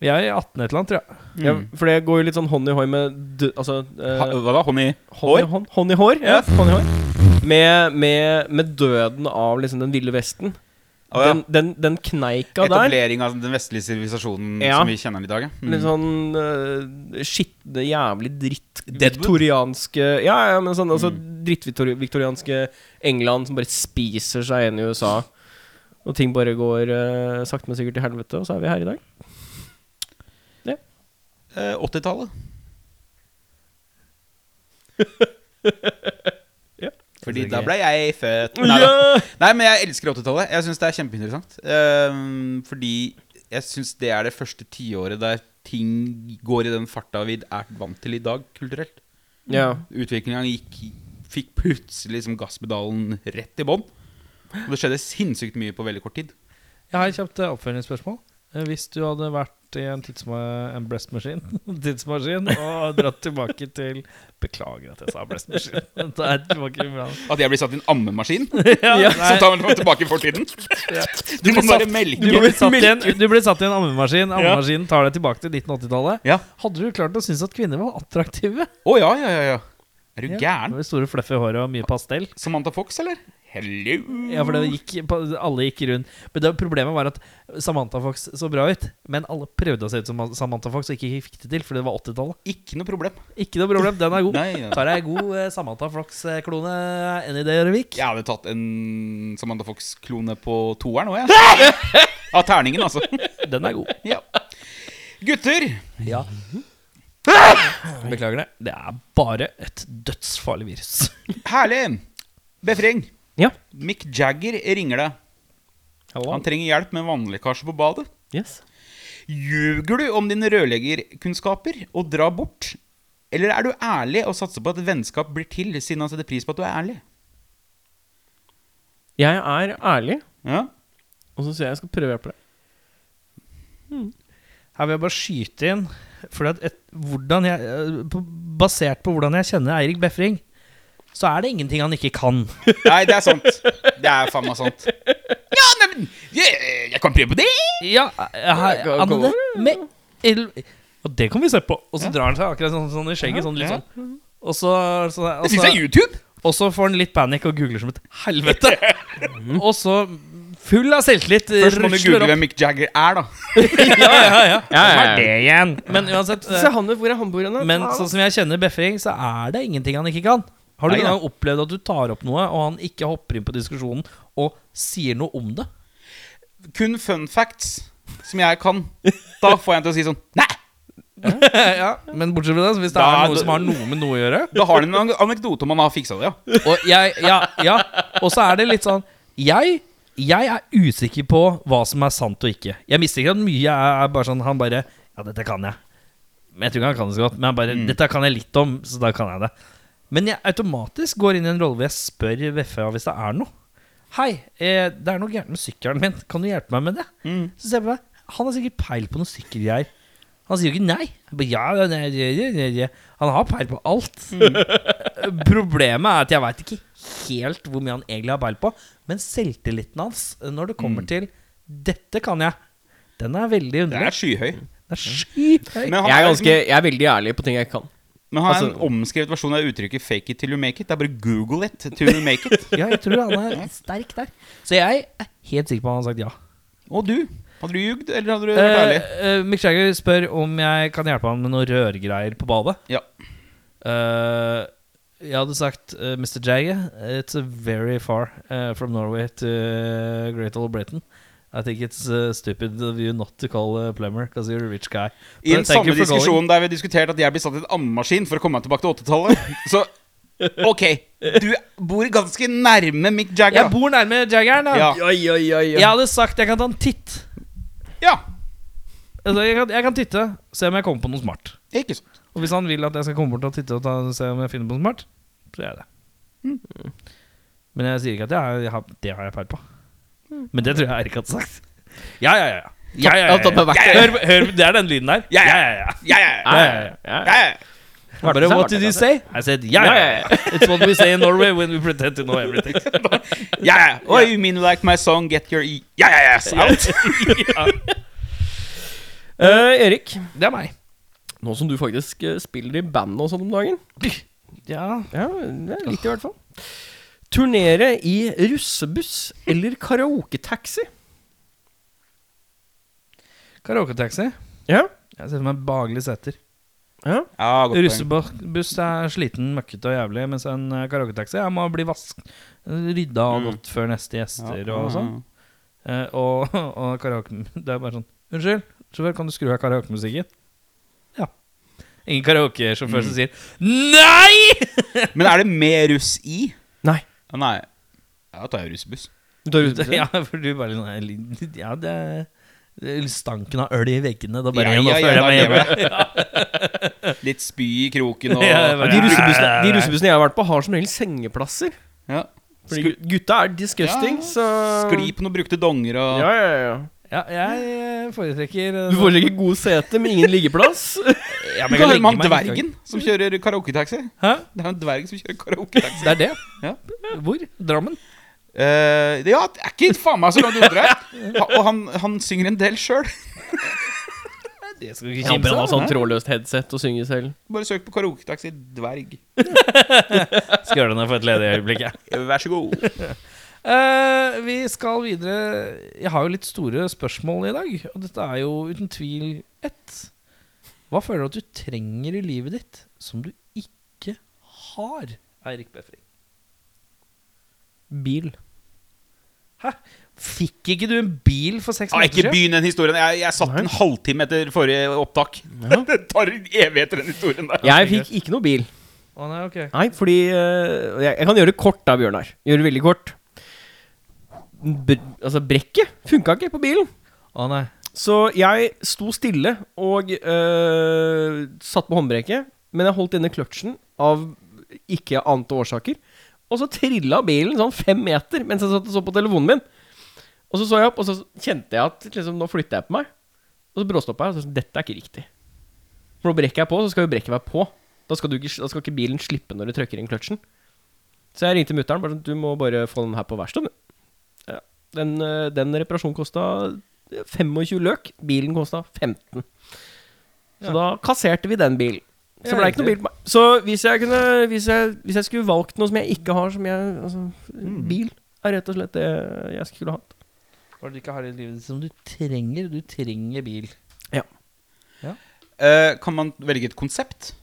Vi er i 18 et eller annet, tror jeg.
ja, For det går jo litt sånn hånd i hår med dø, Altså eh,
Ha, hva da? Honey?
hånd, i hånd, hånd i hår. Ja, hånd i hår. Med, med, med døden av liksom den ville vesten.
Å, ja.
Den, den, den kneika der.
Etablering av den vestlige sivilisasjonen
Ja.
som vi kjenner den i dag. ja. Mm.
Litt sånn uh, skitne, jævlig dritt
Deadwood?
Viktorianske Ja, ja, men sånn altså,
Mm.
drittviktorianske England som bare spiser seg inn i USA. Og ting bare går eh, sakte, men sikkert til helvete, og så er vi her i dag.
Eh, 80-tallet. Fordi da ble jeg født. Nei, da. Nei, men jeg elsker 80-tallet. Jeg syns det er kjempeinteressant. Ehm, fordi jeg syns det er det første tiåret der ting går i den farta vi er vant til i dag, kulturelt.
Ja.
Utviklinga gikk, fikk plutselig liksom gasspedalen rett i bånn. Og det skjedde sinnssykt mye på veldig kort tid.
Jeg har et kjapt eh, oppfølgingsspørsmål. eh, hvis du hadde vært i en, tidsma en breastmaskin tidsmaskin og dratt tilbake til Beklager at jeg sa breastmaskin. Det er tilbake bra.
At jeg blir satt i en ammemaskin
Ja,
som tar meg tilbake i fortiden? Du må bare
Du
melke.
ble, satt i en, du ble satt i en ammemaskin. Ammemaskinen tar deg tilbake til 1980-tallet.
Ja.
Hadde du klart å synes at kvinner var attraktive?
Å ja, ja, ja, ja. Er du gæren?
Med store fluffy hår og mye pastell.
Samantha Fox, eller? Hello.
Ja, for det gikk, alle gikk rundt. Men det, problemet var at Samantha Fox så bra ut, men alle prøvde å se ut som Samantha Fox og ikke fikk det til, fordi det var 80-tallet.
Ikke noe problem.
Ikke noe problem, den er god.
Nei, ja.
Tar ei god eh, Samantha eh, Fox-klone any day of the week.
Jeg hadde tatt en Samantha Fox-klone på toeren òg, jeg. Av terningen, altså.
Den er god.
Ja. Gutter,
Ja. Beklager det. Det er bare et dødsfarlig virus.
herlig. Befring.
Ja.
Mick Jagger ringer deg. Han trenger hjelp med vannlekkasje på badet.
Yes.
Ljuger du om dine rørleggerkunnskaper og drar bort? Eller er du ærlig og satser på at et vennskap blir til, siden han setter pris på at du er ærlig?
Jeg er ærlig,
Ja,
og så sier jeg jeg skal prøve å hjelpe deg.
Her vil jeg bare skyte inn Fordi at et, hvordan jeg, eh, på- Basert på hvordan jeg kjenner Eirik Befring, så er det ingenting han ikke kan.
Nei, det er sant. Det er faen meg sant. Ja, neimen jeg, jeg kan prøve på det.
Ja, Eh, her,
kan-
han
kan-
hadde med el Og det kan vi se på. Og så drar han seg akkurat sånn, sånn i skjegget. Sånn, litt
Ja.
sånn. Og så, så, og,
Det syns jeg
så,
er YouTube.
og så får han litt panikk og googler som et helvete. og så, full av selvtillit,
Først må du
rusler
google
opp.
hvem Mick Jagger er, da.
Ja, ja,
ja,
ja. Hva er det igjen? Men uansett eh,
Se han hvor er han bor hen? da?
Men
Faen,
sånn som jeg kjenner Befring, så er det ingenting han ikke kan. Har du
Nei,
noen
da.
gang opplevd at du tar opp noe, og han ikke hopper inn på diskusjonen og sier noe om det?
Kun fun facts som jeg kan. Da får jeg en til å si sånn Nei!
ja, Men bortsett fra det, så hvis det
Da-
er noe som har noe med noe å gjøre
Da har han en an- anekdote om han har fiksa det, ja.
Og jeg, ja, ja. Og så er det litt sånn Jeg jeg er usikker på hva som er sant og ikke. Jeg mistenker at mye er bare sånn Han bare Ja, dette kan jeg. Men jeg tror ikke han kan det så godt. Men han
Mm.
bare Dette kan jeg litt om, så da kan jeg det. Men jeg automatisk går inn i en rolle hvor jeg spør VFA hvis det er noe. Hei, eh, det er noe gærent med sykkelen min. Kan du hjelpe meg med det?
Mm.
Så ser jeg på meg. Han har sikkert peil på noen sykkelgreier. Han sier jo ikke nei. Han bare, ja, nei, nei, nei, nei, nei. Han har peil på alt.
Mm.
Problemet er at jeg veit ikke helt hvor mye han egentlig har peil på. Men selvtilliten hans når det
Mm.
kommer til 'dette kan jeg', den er veldig
Det
underlig.
er skyhøy.
Den er skyhøy.
Men han
Jeg er,
liksom-
ganske, jeg er veldig ærlig på ting jeg kan.
Men han er en
altså-
omskrevet versjon av uttrykket 'fake it till you make it'. Det er bare google it till you make it.
Ja, jeg tror han er sterk der. Så jeg er helt sikker på at han har sagt ja.
Og du? Hadde du ljugd, eller hadde du vært
Eh,
ærlig?
eh, Mick Jagger spør om jeg kan hjelpe han med noen rørgreier på badet.
Ja.
Eh, jeg hadde sagt eh, Mr. Jagger, it's a very far eh, from Norway to eh, Great Old Britain. I think it's eh, stupid of you not to call a plumber because you're a rich guy.
I den
But thank
samme
you for
diskusjonen der vi diskuterte at jeg blir satt i en ammemaskin for å komme meg tilbake til 80-tallet. Så ok, du bor ganske nærme Mick
calling. Jeg
Jagger. da.
bor nærme Jaggeren. da.
Ja.
Oi, oi, oi,
Jeg hadde sagt jeg kan ta en titt.
ja,
Altså, jeg, kan, jeg kan titte, se om jeg kommer på noe smart.
ikke sant.
Og hvis han vil at jeg skal komme bort og titte og ta, se om jeg finner på noe smart, så gjør jeg det. Men jeg sier ikke at jeg, jeg har, det har jeg peil på. Men det tror jeg Erik hadde sagt. Ja, ja, ja. ja. Ja, ja, ja,
Tatt opp med
ja. Hør, hør, det er den lyden der.
Ja, ja,
ja.
Ja, ja, ja. ja, ja.
Bare, what did you say? I said, ja, ja, ja. It's what we say in Norway when we pretend to know everything.
ja, ja. Oh, you mean like my song 'Get Your E'? Ja, ja, ja, out.
Eh, Erik,
Det er meg.
nå som du faktisk eh, spiller i band og sånn om dagen
Ja.
Ja, det er litt i hvert fall. Turnere i russebuss eller karaoketaxi?
Karaoketaxi.
Ja.
Jeg ser for meg baglige seter.
ja.
Ja, godt poeng.
Russebuss er sliten, møkkete og jævlig, mens en eh, karaoketaxi jeg må bli vask rydda og godt før neste gjester
Ja,
og
ja,
sånn. Eh, og og karaoke Det er bare sånn Unnskyld, sjåfør, kan du skru av karaokemusikken? Ja. Ingen karaokesjåfør som sier NEI!
ja. Men er det mer russ i?
Nei.
Ja, Nei. Ja, da tar jeg russebuss.
ja, for du bare sånn er litt- Ja, det det- Stanken av øl i veggene. Da bare
Ja,
nå
ja, ja,
føler jeg
da
meg hjemme.
lever jeg. Litt spy i kroken og
Ja, det
Ja,
var-
de, russebussene, de russebussene jeg har vært på, har som regel sengeplasser.
ja.
Fordi gutta er disgusting,
Ja,
så
Skli på noen brukte donger og
Ja, ja, ja.
Ja, jeg eh, foretrekker eh,
Du får ikke god sete med ingen liggeplass.
Ja,
men
men
jeg kan
kan man
legge meg en
dvergen som kjører karaoketaxi?
Hæ?
Det er jo en dverg som kjører karaoketaxi.
Det er det?
Ja.
Hvor? Drammen?
Eh, ja, det er ikke faen meg så langt undre. Og han, han synger en del sjøl.
Det skal du ikke
Ja, men ha
kimse
sånn trådløst headset og synge selv.
Bare søk på karaoketaxi dverg.
Skølene for et ledig øyeblikk, jeg.
Vær så god.
Eh, vi skal videre Jeg har jo litt store spørsmål i dag, og dette er jo uten tvil ett. Hva føler du at du trenger i livet ditt som du ikke har, Eirik Befring?
Bil.
Hæ? Fikk ikke du en bil for seks
Ah, ikke
måneder siden?
begynn den historien. Jeg, jeg satt en halvtime etter forrige opptak. det tar en evighet, den historien der.
Jeg fikk ikke noe bil.
Å, nei, ok.
Nei, fordi eh, jeg, jeg kan gjøre det kort da, Bjørnar. Gjøre det veldig kort. Br altså, brekket funka ikke på bilen.
Å, nei.
Så jeg sto stille og øh, satt på håndbrekket, men jeg holdt inne kløtsjen av ikke ante årsaker. Og så trilla bilen sånn fem meter mens jeg satt og så på telefonen min. Og så så jeg opp, og så kjente jeg at liksom, nå flytter jeg på meg. Og så bråstoppa jeg. Og så sa jeg, dette er ikke riktig. For nå brekker jeg på, så skal jo brekket være på. Da skal, du ikke, da skal ikke bilen slippe når du trykker inn kløtsjen. Så jeg ringte mutter'n. bare sånn, Du må bare få den her på verkstedet. du.» Ja. Den, øh, den reparasjonen kosta 25 løk. Bilen kosta 15. Så da kasserte vi den bilen. Så
Ja,
ble det ikke noe
riktig.
bil på meg. Så hvis jeg, kunne, hvis, jeg, hvis jeg skulle valgt noe som jeg ikke har, som jeg altså,
Mm.
Bil er rett og slett det jeg skulle hatt.
Hva er det du ikke har i livet ditt som du trenger? Du trenger bil.
Eh, kan man velge et konsept?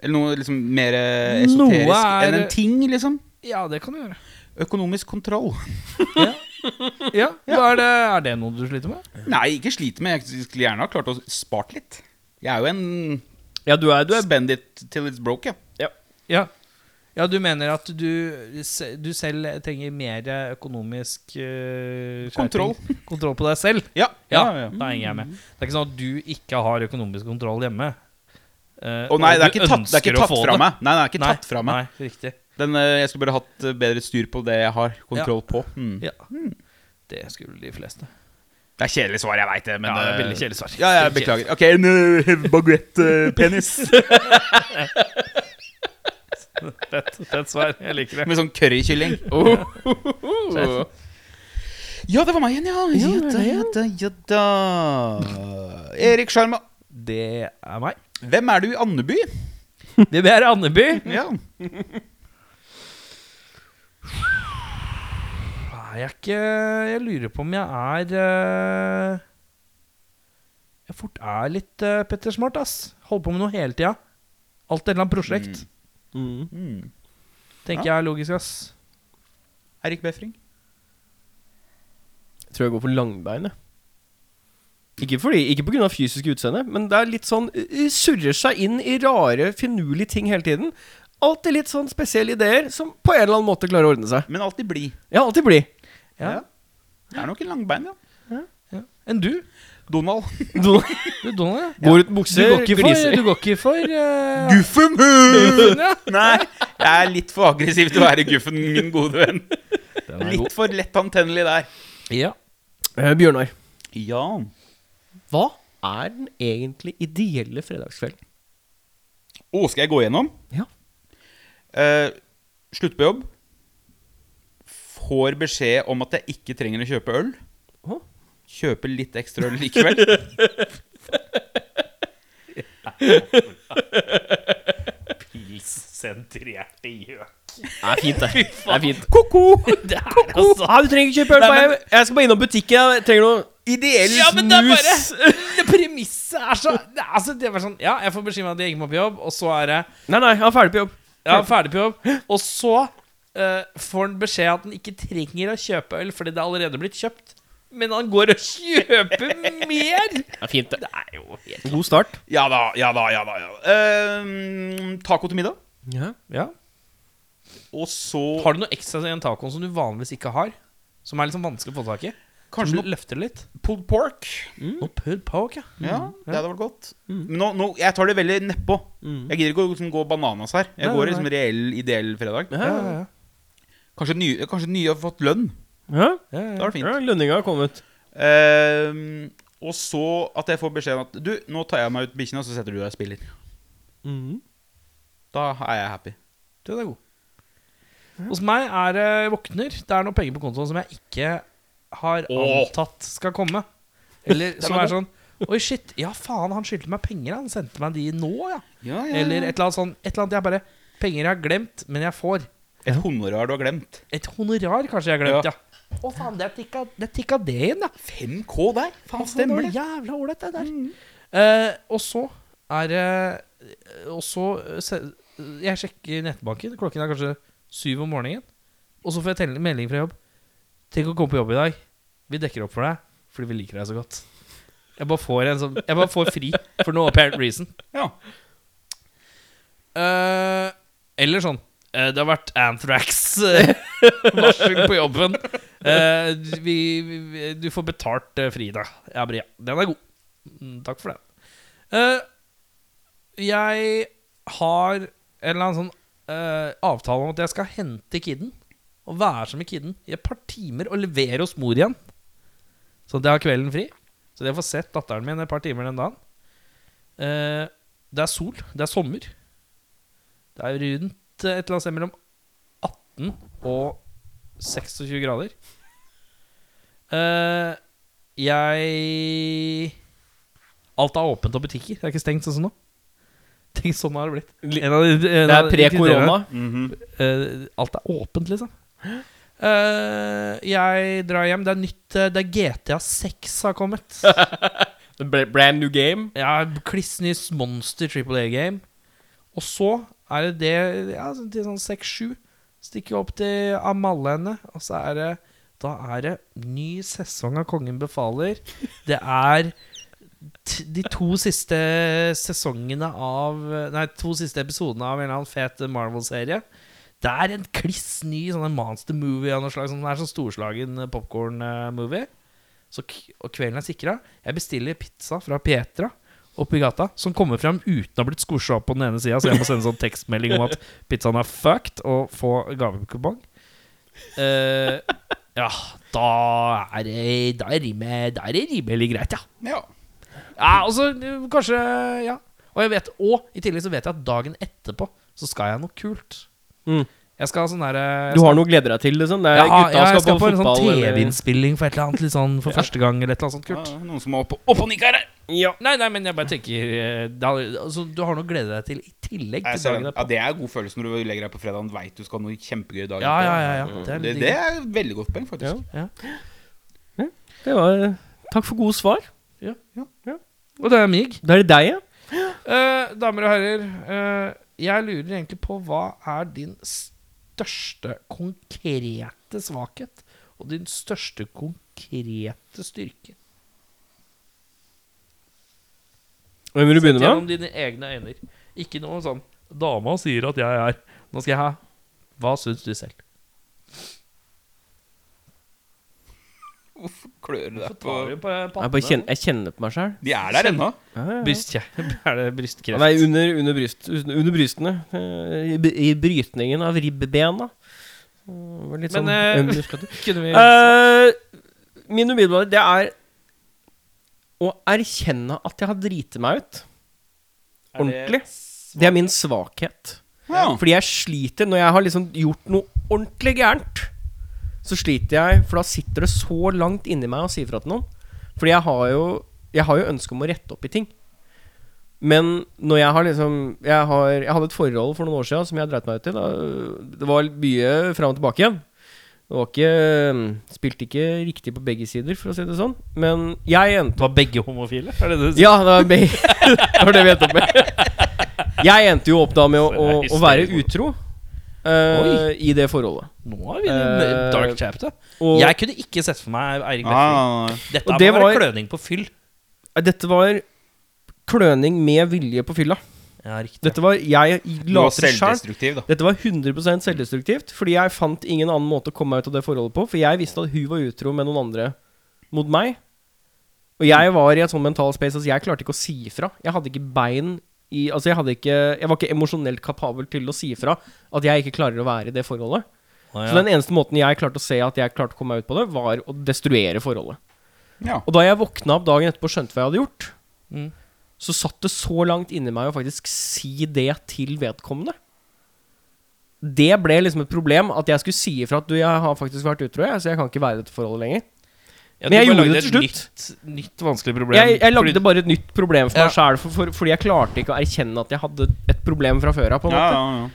Eller noe liksom mer eh, esoterisk
Noe er-
enn en ting, liksom?
Ja, det kan du gjøre.
Økonomisk kontroll.
Ja, hva Er, det, er det noe du sliter med?
Nei, ikke slite med. Jeg skulle gjerne ha klart å spart litt. Jeg er jo en
Ja, du er,
du er spend it till it's broke, ja.
Ja. ja, du mener at du, se- du selv trenger mer økonomisk eh, skjerping.
Kontroll.
Kontroll på deg selv?
Ja,
Ja,
ja, ja.
da henger jeg med. Det er ikke sånn at du ikke har økonomisk kontroll hjemme. Eh,
Å nei,
og du
det er ikke tatt, det er
ønsker
ikke
å
tatt
få
fra
det.
meg. Nei, det er ikke
Nei,
tatt fra meg.
Nei, riktig.
Den, eh, jeg skulle bare hatt eh, bedre styr på det jeg har kontroll på. Mm.
Ja. Det skulle de fleste.
Det er kjedelig svar, jeg veit det, men
Ja, det er
eh,
veldig kjedelig svar.
Ja, jeg beklager. Ok, en eh, baguette-penis.
Fett, fett svar. Jeg liker det.
Med sånn currykylling.
Oh.
Ja, det var meg igjen, ja. Ja da, ja da, ja da. Erik Sjarma.
Det er meg.
Hvem er du i Andeby?
Det er Andeby.
Ja.
Er jeg ikke Jeg lurer på om jeg er eh, Jeg fort er litt eh, Petter Smart, ass. Holder på med noe hele tida. Alt et eller annet prosjekt.
Mm.
Mm.
Tenker jeg er logisk, ass.
Erik Befring.
Jeg tror jeg går for langbeinet. Ikke, fordi, ikke på grunn av fysisk utseende, men det er litt sånn uh, Surrer seg inn i rare, finurlige ting hele tiden. Alltid litt sånn spesielle ideer som på en eller annen måte klarer å ordne seg.
Men alltid blid.
Ja, alltid blid.
Ja.
Det er nok en langbein, ja.
Enn du?
Donald.
Donald-
Du, Donald? ja.
Går ut
Du
bukser,
går ikke for,
gliser.
du går ikke for eh,
Guffen!
Guffen, ja.
Nei, jeg er litt for aggressiv til å være guffen, min gode venn. Litt for lett antennelig der.
ja.
Eh, Bjørnar,
Ja.
hva er den egentlig ideelle fredagskvelden?
Å, skal jeg gå gjennom?
Ja.
Eh, slutt på jobb. Får beskjed om at jeg ikke trenger å kjøpe øl.
Å.
Kjøper litt ekstra øl likevel.
Pilssentrerte gjøk.
Det er fint, det. det er fint. Ko-ko!
altså.
Ja, du trenger ikke kjøpe øl.
Nei, men-
jeg- Jeg skal bare innom butikken. Jeg trenger noe
Ideell
Ja, men det er bare
snus.
Det Premisset er så det er altså, det er bare sånn Ja, jeg får beskjed om at jeg ikke må på jobb, og så er det
Nei, nei, jeg er ferdig på jobb.
Ja, ferdig på jobb. Og så eh, får han beskjed at han ikke trenger å kjøpe øl fordi det er allerede blitt kjøpt. Men han går og kjøper mer!
Det er fint, det.
er jo helt
God start.
Ja da, ja da, ja da. Ja. da. Eh, taco til middag.
Ja.
ja.
Og så
Har du noe ekstra i en tacoen som du vanligvis ikke har? Som er liksom vanskelig å få tak i? Som
kanskje
du
noe
løfter litt?
pulled pork.
Noe pulled pork, Mm. ja. Mm.
Ja, det hadde vært godt. Men nå, nå, jeg tar det veldig nedpå. Jeg gidder ikke å liksom gå bananas her. Jeg
Nei,
går
nei,
liksom reell, ideell fredag.
Ja, ja, ja.
Kanskje nye, kanskje nye har fått lønn.
Ja,
ja, ja.
Da er det fint.
ja lønninga har kommet.
Ehm, og så at jeg får beskjed om at Du, nå tar jeg meg ut bikkjene, og så setter du deg og spiller.
Mm.
Da er jeg happy.
Den er god. Hos meg er det jeg våkner. Det er noen penger på kontoen som jeg ikke har
Åh.
antatt skal komme. Eller som er sånn Oi, shit. Ja, faen, han skyldte meg penger. Han sendte meg de nå, ja.
Ja, ja, ja.
Eller et eller annet sånn. Et eller annet jeg bare Penger jeg har glemt, men jeg får.
Et honorar du har glemt.
Et honorar kanskje jeg har glemt, ja. Å, faen, det er tikka det, tikka det inn, ja.
5K der? Faen, stemmer det?
Jævla ålreit, det
Mm.
der. Eh, og så er det Og så eh, se- Jeg sjekker nettbanken. Klokken er kanskje syv om morgenen. Og så får jeg telle- melding fra jobb. 'Tenk å komme på jobb i dag. Vi dekker opp for deg fordi vi liker deg så godt.' Jeg bare får, en sånn, jeg bare får fri for no apparent reason.
Ja.
Eh, eller sånn eh, Det har vært Anthrax-varsel på jobben. Eh, vi, vi, du får betalt uh, fridag. Ja, Bria. Den er god. Mm, Takk for det. Eh, jeg har en eller annen sånn eh, avtale om at jeg skal hente kiden og være som med kiden i et par timer og levere hos mor igjen. Så at jeg har kvelden fri. Så jeg får sett datteren min et par timer den dagen. Eh, det er sol. Det er sommer. Det er rundt eh, et eller annet sted mellom 18 og 26 grader. Eh, jeg Alt er åpent og butikker. Det er ikke stengt sånn som nå. Tenk, sånn har det blitt. En av de-
Det
en
er
av de kriteriene.
pre-korona.
Eh, alt er åpent, liksom. Eh, jeg drar hjem. Det er nytt eh, Det er GTA 6 har kommet.
Bra- Brand new game.
Ja, Klissnys monster Triple A-game. Og så er det det ja, sånn til sånn 6-7. Stikker opp til Amalene, og så er det Da er det ny sesong av Kongen befaler. Det er t de to siste sesongene av Nei, to siste episodene av en eller annen fet Marvel-serie. Det er en kliss ny sånn en monster movie av noe slag. Sånn, det er sånn storslagen popkorn-movie. Så k og kvelden er sikra. Jeg bestiller pizza fra Pietra oppi gata, som kommer fram uten å ha blitt skorsa opp på den ene sida, så jeg må sende sånn tekstmelding om at pizzaen er fucked, og få gavekupong. Eh, ja, da er det Da er rimelig, da er det rimelig greit, ja.
Ja.
Ja, og så eh, kanskje Ja. Og jeg vet Og i tillegg så vet jeg at dagen etterpå så skal jeg noe kult.
Mm.
Jeg skal ha sånn derre
Du har noe å glede deg til, liksom? Det er
ja,
gutta
ja, jeg
skal,
skal på en sånn
fotball, eh, eller-
TV-innspilling for et eller annet litt sånn for første gang, eller et eller annet sånt
Ja,
kult.
Noen som er oppe, oppe og nikker her.
Ja.
Nei, nei, men jeg bare tenker eh, da, altså, Du har noe å glede deg til i tillegg
Jeg
til
ser den.
dagen
Ja,
etterpå.
det er god følelse når du legger deg på fredagen og veit du skal ha noe kjempegøy dagen
Ja, ja, ja,
etterpå.
ja. Det er
Mm. Det,
litt
det
digg.
er et veldig godt poeng, faktisk.
Det var eh, Takk for gode svar.
Og det er mig.
Da er det deg, ja.
Eh, damer og herrer, eh, jeg lurer egentlig på hva er din største konkrete svakhet? Og din største konkrete styrke?
Hvem vil du
Sett
begynne
gjennom
med?
dine egne øyne. Ikke noe sånn 'Dama sier at jeg er' Nå skal jeg ha Hva syns du selv?
Hvorfor klør du deg på
Tar du på
Jeg,
pattene?
bare kjenner, jeg kjenner på meg sjæl.
De er der ennå.
Bryst, ja. Er det brystkreft?
Nei, under, under, bryst, under brystene. eh, I, b- I brytningen av ribbena. Eh, det var Litt
Men,
sånn
eh,
øm muskulatur.
Kunne vi
Eh, Min umiddelbare Det er å erkjenne at jeg har driti meg ut. Ordentlig. Det er min svakhet.
Ja.
Fordi jeg sliter når jeg har liksom gjort noe ordentlig gærent. Så sliter jeg, for da sitter det så langt inni meg å si ifra til noen. Fordi jeg har jo Jeg har jo ønske om å rette opp i ting. Men når jeg har liksom Jeg, har, jeg hadde et forhold for noen år siden som jeg dreit meg ut i. Da. Det var mye fram og tilbake igjen. Det var ikke Spilte ikke riktig på begge sider, for å si det sånn. Men jeg endte
Var begge homofile? Er det det du sier?
ja, det var, be- det var det vi endte opp med. Jeg endte jo opp da med å, å, å være utro eh, i det forholdet.
Nå har vi en
Eh,
dark chapter.
Og
Jeg kunne ikke sett for meg Eirik Befring.
Ah,
Dette
Og
er
det
bare
var-
kløning på fyll.
dette var kløning med vilje på fylla.
Ja, riktig.
Dette var jeg
du var
later sjæl.
selvdestruktiv, da.
Dette var 100 selvdestruktivt, fordi jeg fant ingen annen måte å komme meg ut av det forholdet på. For jeg visste at hun var utro med noen andre mot meg. Og jeg var i et sånn mental space at jeg klarte ikke å si ifra. Jeg hadde ikke bein i Altså, jeg hadde ikke Jeg var ikke emosjonelt kapabel til å si ifra at jeg ikke klarer å være i det forholdet.
Å, ja.
Så den eneste måten jeg klarte å se at jeg klarte å komme meg ut på det, var å destruere forholdet.
Ja.
Og da jeg våkna opp dagen etterpå og skjønte hva jeg hadde gjort,
Mm.
så satt det så langt inni meg å faktisk si det til vedkommende. Det ble liksom et problem at jeg skulle si ifra at du, jeg har faktisk vært utro, jeg, så jeg kan ikke være i dette forholdet lenger. Men jeg gjorde det til
Nytt, nytt vanskelig problem.
Jeg, jeg lagde
Fordi-
bare et nytt problem for
Ja.
meg sjæl, for, for, fordi jeg klarte ikke å erkjenne at jeg hadde et problem fra før av. på en
Ja,
måte.
ja, ja.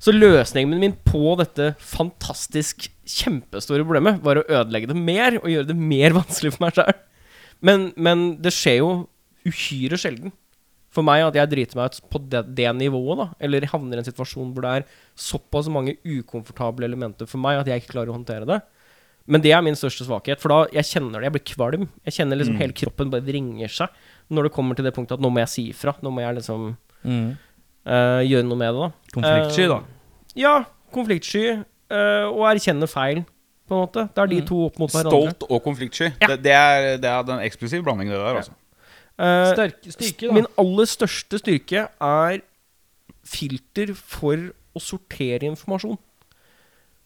Så løsningen min på dette fantastisk kjempestore problemet var å ødelegge det mer og gjøre det mer vanskelig for meg sjøl. Men, men det skjer jo uhyre sjelden for meg at jeg driter meg ut på det, det nivået, da. Eller havner i en situasjon hvor det er såpass mange ukomfortable elementer for meg at jeg ikke klarer å håndtere det. Men det er min største svakhet, for da jeg kjenner det. Jeg blir kvalm. Jeg kjenner liksom
Mm.
hele kroppen bare vringer seg når det kommer til det punktet at nå må jeg si ifra. Nå må jeg liksom
Mm.
eh, gjøre noe med det, da. Eh,
Konfliktsky, da.
Ja, konfliktsky øh, og erkjenne feil, på en måte. Det er de to opp mot hverandre.
Mm. Stolt og konfliktsky.
Ja.
Det, det, er, det er den eksplosive blandingen, det der. Altså.
Eh,
Sterk, styrke, da.
Min aller største styrke er filter for å sortere informasjon.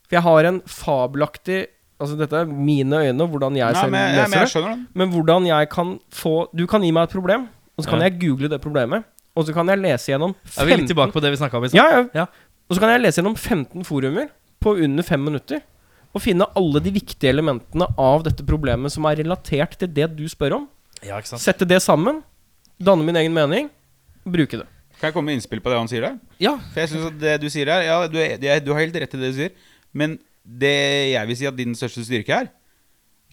For jeg har en fabelaktig Altså, dette er mine øyne, hvordan jeg
Nei,
selv
men, ja,
leser
men jeg
det.
skjønner den.
Men hvordan jeg kan få Du kan gi meg et problem, og så kan
Ja.
jeg google det problemet. Og så kan jeg lese gjennom
er vi litt
15
tilbake på det vi snakka om i stad?
Ja, ja.
Ja.
Og så kan jeg lese gjennom 15 forumer på under 5 minutter. Og finne alle de viktige elementene av dette problemet som er relatert til det du spør om.
Ja, ikke sant?
Sette det sammen, danne min egen mening, og bruke det.
Kan jeg komme med innspill på det han sier der?
Ja.
For jeg synes at det du sier her Ja, du, er, du er- du har helt rett i det du sier, men det jeg vil si at din største styrke er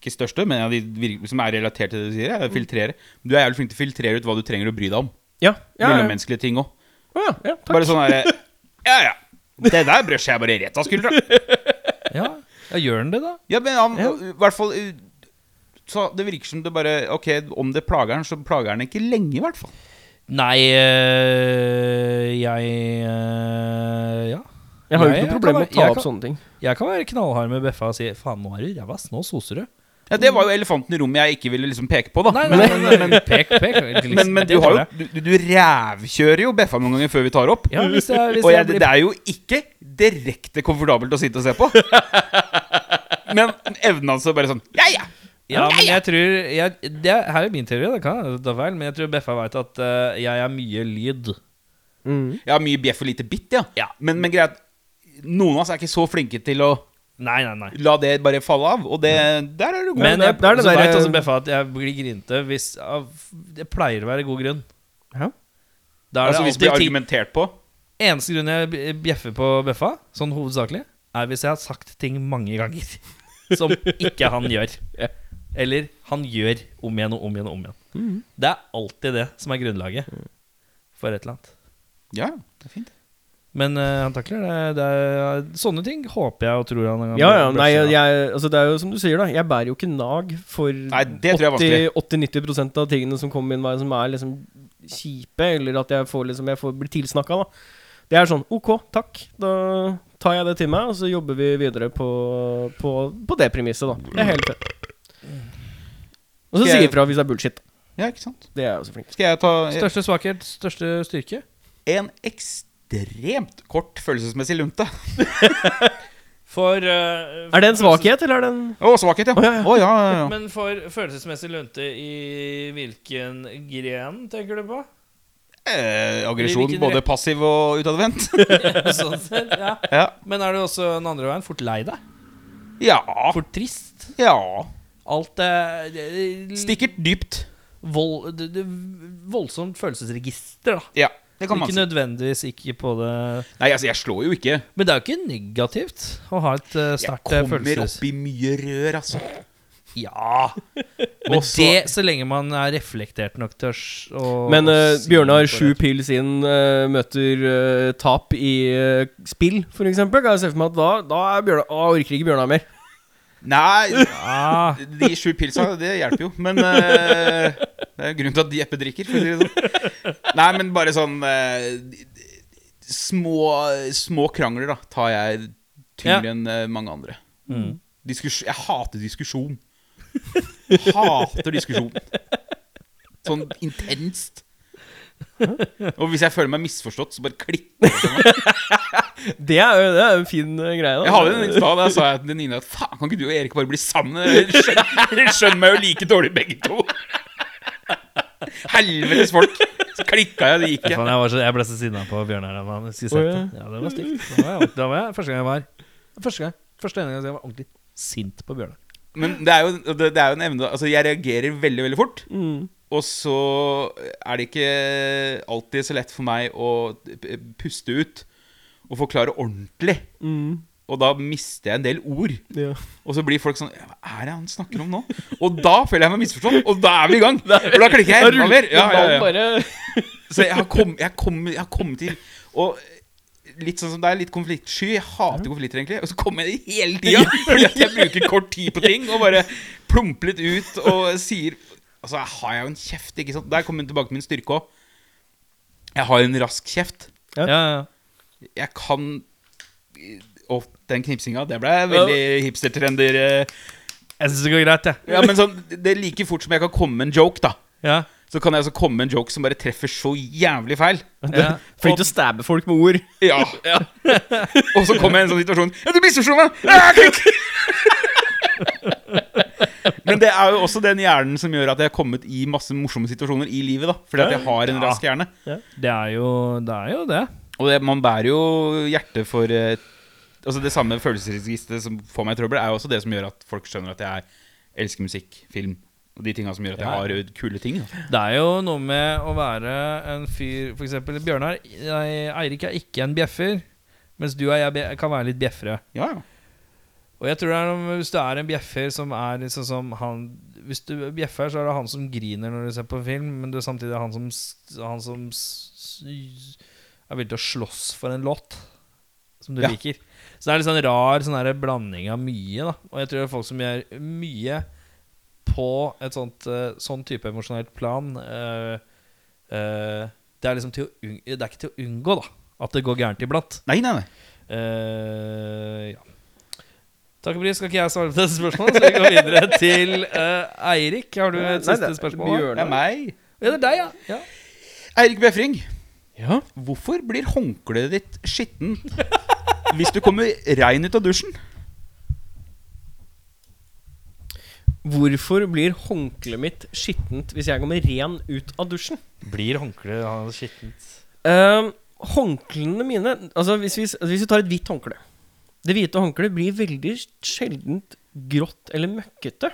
Ikke største, men en av de vir- som er relatert til det du sier, er å filtrere. Du er jævlig flink til å filtrere ut hva du trenger å bry deg om.
Ja, ja, ja.
Mellommenneskelige ting òg.
Å, ja, ja takk.
Bare sånn herre Ja, ja. Det der brøsjer jeg bare rett av skuldra.
Eh, ja. ja, gjør den det, da?
Ja, men han
Ja.
I hvert fall uh, Så det virker som det bare Ok, om det plager han, så plager han ikke lenge, i hvert fall.
Nei, øh, jeg øh, Ja.
Jeg har jo
Nei,
ikke
jeg
noe problem
kan
med å ta
være- jeg
opp
kan-
sånne ting.
Jeg kan være knallhard med Beffa og si faen, nå er du ræva ass, nå soser du.
Ja, Det var jo elefanten i rommet jeg ikke ville liksom peke på, da.
Nei,
men,
nei, nei, men pek, pek. liksom,
men, men
det
du, har
tåler
jo,
jeg.
du, du rævkjører jo Beffa noen ganger før vi tar opp.
Ja, hvis jeg, hvis
og
jeg,
jeg, det
blir
er jo ikke direkte komfortabelt å sitte og se på. Men evnen hans er bare sånn Ja, ja!
Ja, men jeg tror jeg, det er, Her er min teori, det kan jeg ta feil, men jeg tror Beffa veit at øh, jeg er mye lyd.
Jeg har mye bjeff og lite bitt, ja. Men, men greit, noen av oss er ikke så flinke til å
Nei, nei, nei.
la det bare falle av, og det, der er du god.
Men
det er-
jeg,
det er det
så
der-
veit også Beffa at jeg blir grinete hvis av, Det pleier å være god grunn.
Ja.
Da er
altså,
det
hvis det blir
alltid ting
argumentert på.
Eneste grunn jeg b- bjeffer på Beffa, sånn hovedsakelig, er hvis jeg har sagt ting mange ganger som ikke han gjør. Eller han gjør om igjen og om igjen og om igjen.
Mhm.
Det er alltid det som er grunnlaget
Mm.
for et eller annet.
Ja, det er fint.
Men eh, han takler det. det er, sånne ting håper jeg og tror han kan
Ja, ja, nei,
brushe av.
jeg, altså det er jo som du sier, da. Jeg bærer jo ikke nag for
det tror jeg
80 80-90 av tingene som kommer min vei, som er liksom kjipe, eller at jeg får liksom Jeg får, blir tilsnakka, da. Det er sånn OK, takk. Da tar jeg det til meg, og så jobber vi videre på, på, på det premisset, da. Det er helt fett. Og så
Skal
sier
jeg-
ifra hvis det er bullshit. da.
Ja, ikke sant?
Det er jeg også flink til.
Skal jeg ta
Største svakhet, største styrke?
en ekstremt kort følelsesmessig lunte?
For
Er det en svakhet, eller er det en
Å, svakhet, ja. Å, ja, ja, ja, ja.
Men for følelsesmessig lunte i hvilken gren tenker du på?
Eh, aggresjon
Hvilken
både
rett-
passiv og utadvendt.
sånn sett, ja.
ja.
Men er det også den andre veien? Fort lei deg?
ja.
Fort trist?
Ja.
Alt eh, det
Stikkert dypt.
Vold, det, det, voldsomt følelsesregister, da.
Ja, det kan man
ikke
si.
nødvendigvis ikke på det
Nei, altså, jeg slår jo ikke.
Men det er jo ikke negativt å ha et eh,
Jeg
sterkt eh,
kommer
følelses...
opp i mye rør, altså.
Ja! Men det så lenge man er reflektert nok til å s- å-
Men
å
eh,
si
Bjørnar,
det for
sju
det.
pils inn, eh, møter eh, tap i eh, spill, for eksempel. Kan jeg se for meg at da, da er Bjørnar Å, orker ikke Bjørnar mer.
Nei,
Ah,
de sju pilsa, det hjelper jo. Men eh, det er jo grunnen til at Jeppe drikker, for å si det sånn. Nei, men bare sånn eh, d- d- små, små krangler, da, tar jeg tyngre enn eh, mange andre.
Mm.
Diskus jeg hater diskusjon. Hater diskusjon. Sånn intenst. Og hvis jeg føler meg misforstått, så bare klikker det. for meg.
Det er jo det er jo en fin eh, greie. da.
Jeg hadde en dag der sa jeg til Nina at faen, kan ikke du og Erik bare bli sammen? Dere skjønner, dere skjønner meg jo like dårlig begge to. Helvetes folk. Så klikka jeg, det gikk
Fy
jeg.
faen, Jeg, var så, jeg ble så sinna på Bjørnar. da, man. Jeg skulle sett
Å,
det. Ja, det var stygt. Da var jeg, da var jeg, første gang jeg var Første gang Første gang jeg var ordentlig sint på Bjørnar.
Men det er jo, det, det er jo en evne Altså, jeg reagerer veldig, veldig fort.
Mm.
Og så er det ikke alltid så lett for meg å p- puste ut og forklare ordentlig.
Mm.
Og da mister jeg en del ord.
Ja.
Og så blir folk sånn «Ja, Hva er det han snakker om nå? Og da føler jeg meg misforstått, og da er vi i gang! Og da klikker jeg enda mer. Ja, ja, ja. Så jeg har kommet jeg har kommet- jeg har kommet til Og litt sånn som deg, litt konfliktsky. Jeg hater konflikter, egentlig. Og så kommer jeg det hele tida! Fordi at jeg bruker kort tid på ting, og bare plumper litt ut og sier Altså, jeg har jo en kjeft, ikke sant? Der kommer jeg tilbake til min styrke òg. Jeg har en rask kjeft.
Ja, ja, ja.
Jeg kan Og den knipsinga, det ble veldig hipstertrender. eh.
Jeg syns det går greit, jeg.
Ja, men sånn, det er like fort som jeg kan komme med en joke, da.
Ja.
Så kan jeg altså komme med en joke som bare treffer så jævlig feil.
Ja.
Flink til å stabbe folk med ord.
Ja. og så kommer jeg i en sånn situasjon Ja, du misforsto meg! Ah, klikk! Men det er jo også den hjernen som gjør at jeg har kommet i masse morsomme situasjoner i livet. da Fordi at jeg har en rask hjerne.
Det er jo det. Er jo det.
Og det, man bærer jo hjertet for eh, Altså Det samme følelsesregisteret som får meg i trøbbel, er jo også det som gjør at folk skjønner at jeg er, elsker musikk, film og de tinga som gjør at jeg har eh, kule ting. Da.
Det er jo noe med å være en fyr For eksempel Bjørnar. Jeg, Eirik er ikke en bjeffer, mens du og jeg be- kan være litt bjeffere.
Ja, ja.
Og jeg tror det er noe, Hvis du er en bjeffer som er liksom som han Hvis du bjeffer, så er det han som griner når du ser på film, men du er samtidig han som, s- han som s- s- er villig til å slåss for en låt som du
Ja.
liker. Så det er litt sånn rar sånn her blanding av mye. da Og jeg tror det er folk som gjør mye på et sånt eh, sånn type emosjonelt plan eh, eh, Det er liksom til å unng Det er ikke til å unngå da at det går gærent iblant.
Nei, nei, nei.
Eh, ja. Takk og pris, skal ikke jeg svare på dette spørsmålet, så vi går videre til eh, Eirik. Har du et siste spørsmål? da?
Det er meg.
Ja, det er deg, ja. ja.
Eirik Befring.
Ja.
Hvorfor blir håndkleet ditt skittent hvis du kommer rein ut av dusjen?
Hvorfor blir håndkleet mitt skittent hvis jeg kommer ren ut av dusjen?
Blir håndkleet skittent?
Ehm, håndklene mine Altså hvis vi, altså, hvis vi tar et hvitt håndkle Det hvite håndkleet blir veldig sjeldent grått eller møkkete.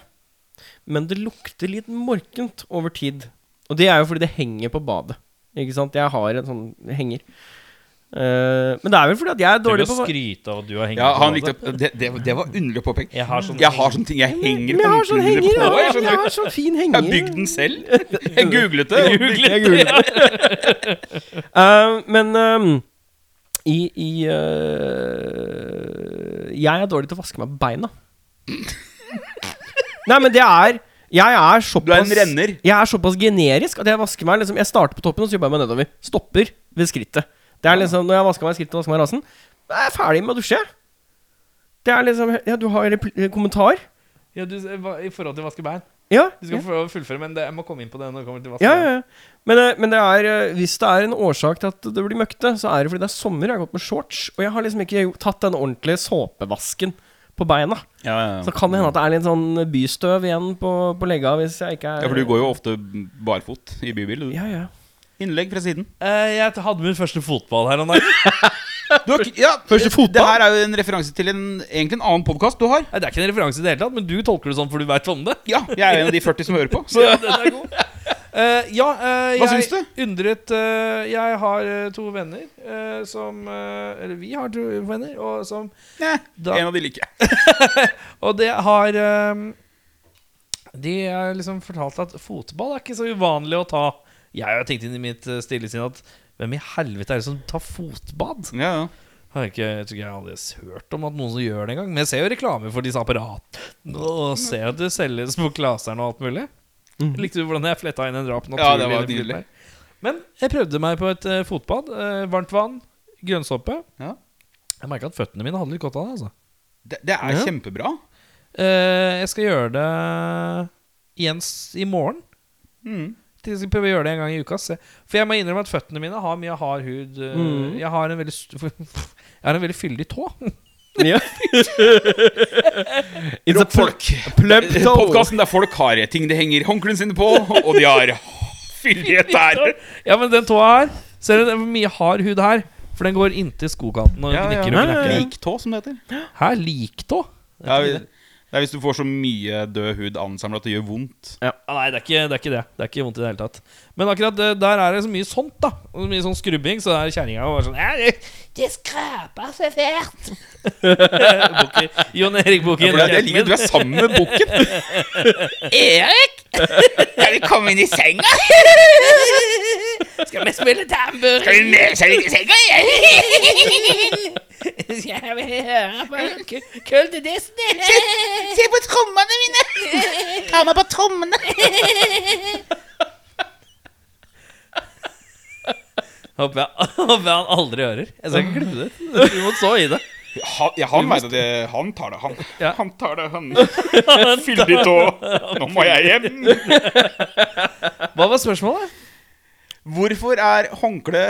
Men det lukter litt morkent over tid. Og det er jo fordi det henger på badet. Ikke sant? Jeg har en sånn det henger. Eh, men det er vel fordi at jeg er dårlig på
skryte av at du har hengt
Ja,
på
han
badet.
likte det, det, det var underlig å påpeke.
Jeg har sånn
Jeg har sånne ting jeg henger
Men jeg har sånn henger.
håndklærne
Jeg
på. Jeg,
har, jeg
skjønner.
har sånn fin
jeg
henger.
har bygd den selv. Jeg googlet det. og bygde-
Jeg googlet. Eh, men ehm, i, i eh, Jeg er dårlig til å vaske meg på beina. Nei, men det er Jeg er
Du er
såpass
en renner.
Jeg er såpass generisk at jeg vasker meg liksom, Jeg starter på toppen, og så jobber jeg meg nedover. Stopper ved skrittet. Det er liksom Når jeg vasker meg i skrittet og vasker meg i rasen, jeg er ferdig med å dusje. jeg. Det er liksom Ja, du har repl- kommentar?
Ja, du, hva- I forhold til vaske bein.
Ja.
Du skal
ja.
få fullføre, men det, jeg må komme inn på det når det kommer til vaske
Ja, ja, ja. Men, eh, men det er, eh, hvis det er en årsak til at det blir møkkete, så er det fordi det er sommer. Jeg har gått med shorts, og jeg har liksom ikke gjort- tatt den ordentlige såpevasken på beina.
Ja, ja,
Så kan det hende at det er litt sånn bystøv igjen på, på legga hvis jeg ikke er
Ja, for du går jo ofte barfot i bybil. du.
Ja, ja.
Innlegg fra siden.
Eh, jeg t- hadde min første fotball her om dagen.
Du har, ikke- ja, Det her er jo en referanse til en, egentlig en annen podkast du har.
Nei, Det er ikke en referanse i det hele tatt, men du tolker det sånn for du veit om det.
Ja, jeg er en av de 40 som hører på. Så
Ja, den er god. Eh, ja, eh,
Hva
jeg
syns du?
undret eh, Jeg har eh, to venner eh, som eh, Eller vi har to venner, og som
Nei,
Da-
en av de liker jeg.
Og det har ehm, De har liksom fortalt at fotball er ikke så uvanlig å ta. Jeg har tenkt inn i mitt eh, stille sinn at hvem i helvete er det som tar fotbad?
Ja, ja.
Har jeg, ikke, jeg tror ikke jeg hadde hørt om at noen som gjør det engang. Men jeg ser jo reklame for disse apparatene og ser at det selges på Klaseren og alt mulig. Likte du hvordan jeg fletta inn en drap
Mhm. Ja, det
naturlig inn
var
i filmen
nydelig.
her? Men jeg prøvde meg på et eh, fotbad. eh, varmt vann, grønnsåpe.
Ja.
Jeg merka at føttene mine hadde litt godt av det. altså
Det, det er kjempebra.
Eh, jeg skal gjøre det igjen s- i morgen.
Mm.
Jeg skal prøve å gjøre det en gang i uka. Se. For jeg må innrømme at føttene mine har mye hard hud. øh,
Mm.
Jeg har en veldig st- Jeg har en veldig fyldig tå.
Ja. It's a
folk. Podkasten der folk har ting de henger håndklærne sine på, og de har fyldighet der.
Ja, men den tåa her Ser du, det er mye hard hud her. For den går inntil skokanten og
Ja, ja.
gnikker og
Ja, ja,
knekker.
Liktå, som det heter.
Her liktå?
Det er, det er hvis du får så mye død hud ansamla at det gjør vondt.
Ja, nei, det er, ikke, det er ikke det. Det er ikke vondt i det hele tatt. Men akkurat det, der er det så mye sånt, da. Og så mye sånn skrubbing, så er kjerringa jo bare sånn «Ja, det-
Det skraper så fælt.
Bukken- Jon Erik Bukken.
Ja, for det- jeg liker at du er sammen med bukken.
Erik, kan du komme inn i senga? Skal vi spille tambur? Skal vi med seg litt i senga? Skal vi høre på K- Kølte Disney? Se, på trommene mine! Ta meg på trommene!
håper, jeg, håper jeg han aldri hører. Jeg skal ikke klippe det ut. Du må stå i det.
Han, ja, han vet at det, han tar det, han.
Ja.
Han tar det, han. Fyldig tå. Nå må jeg hjem.
Hva var spørsmålet?
Hvorfor er håndkle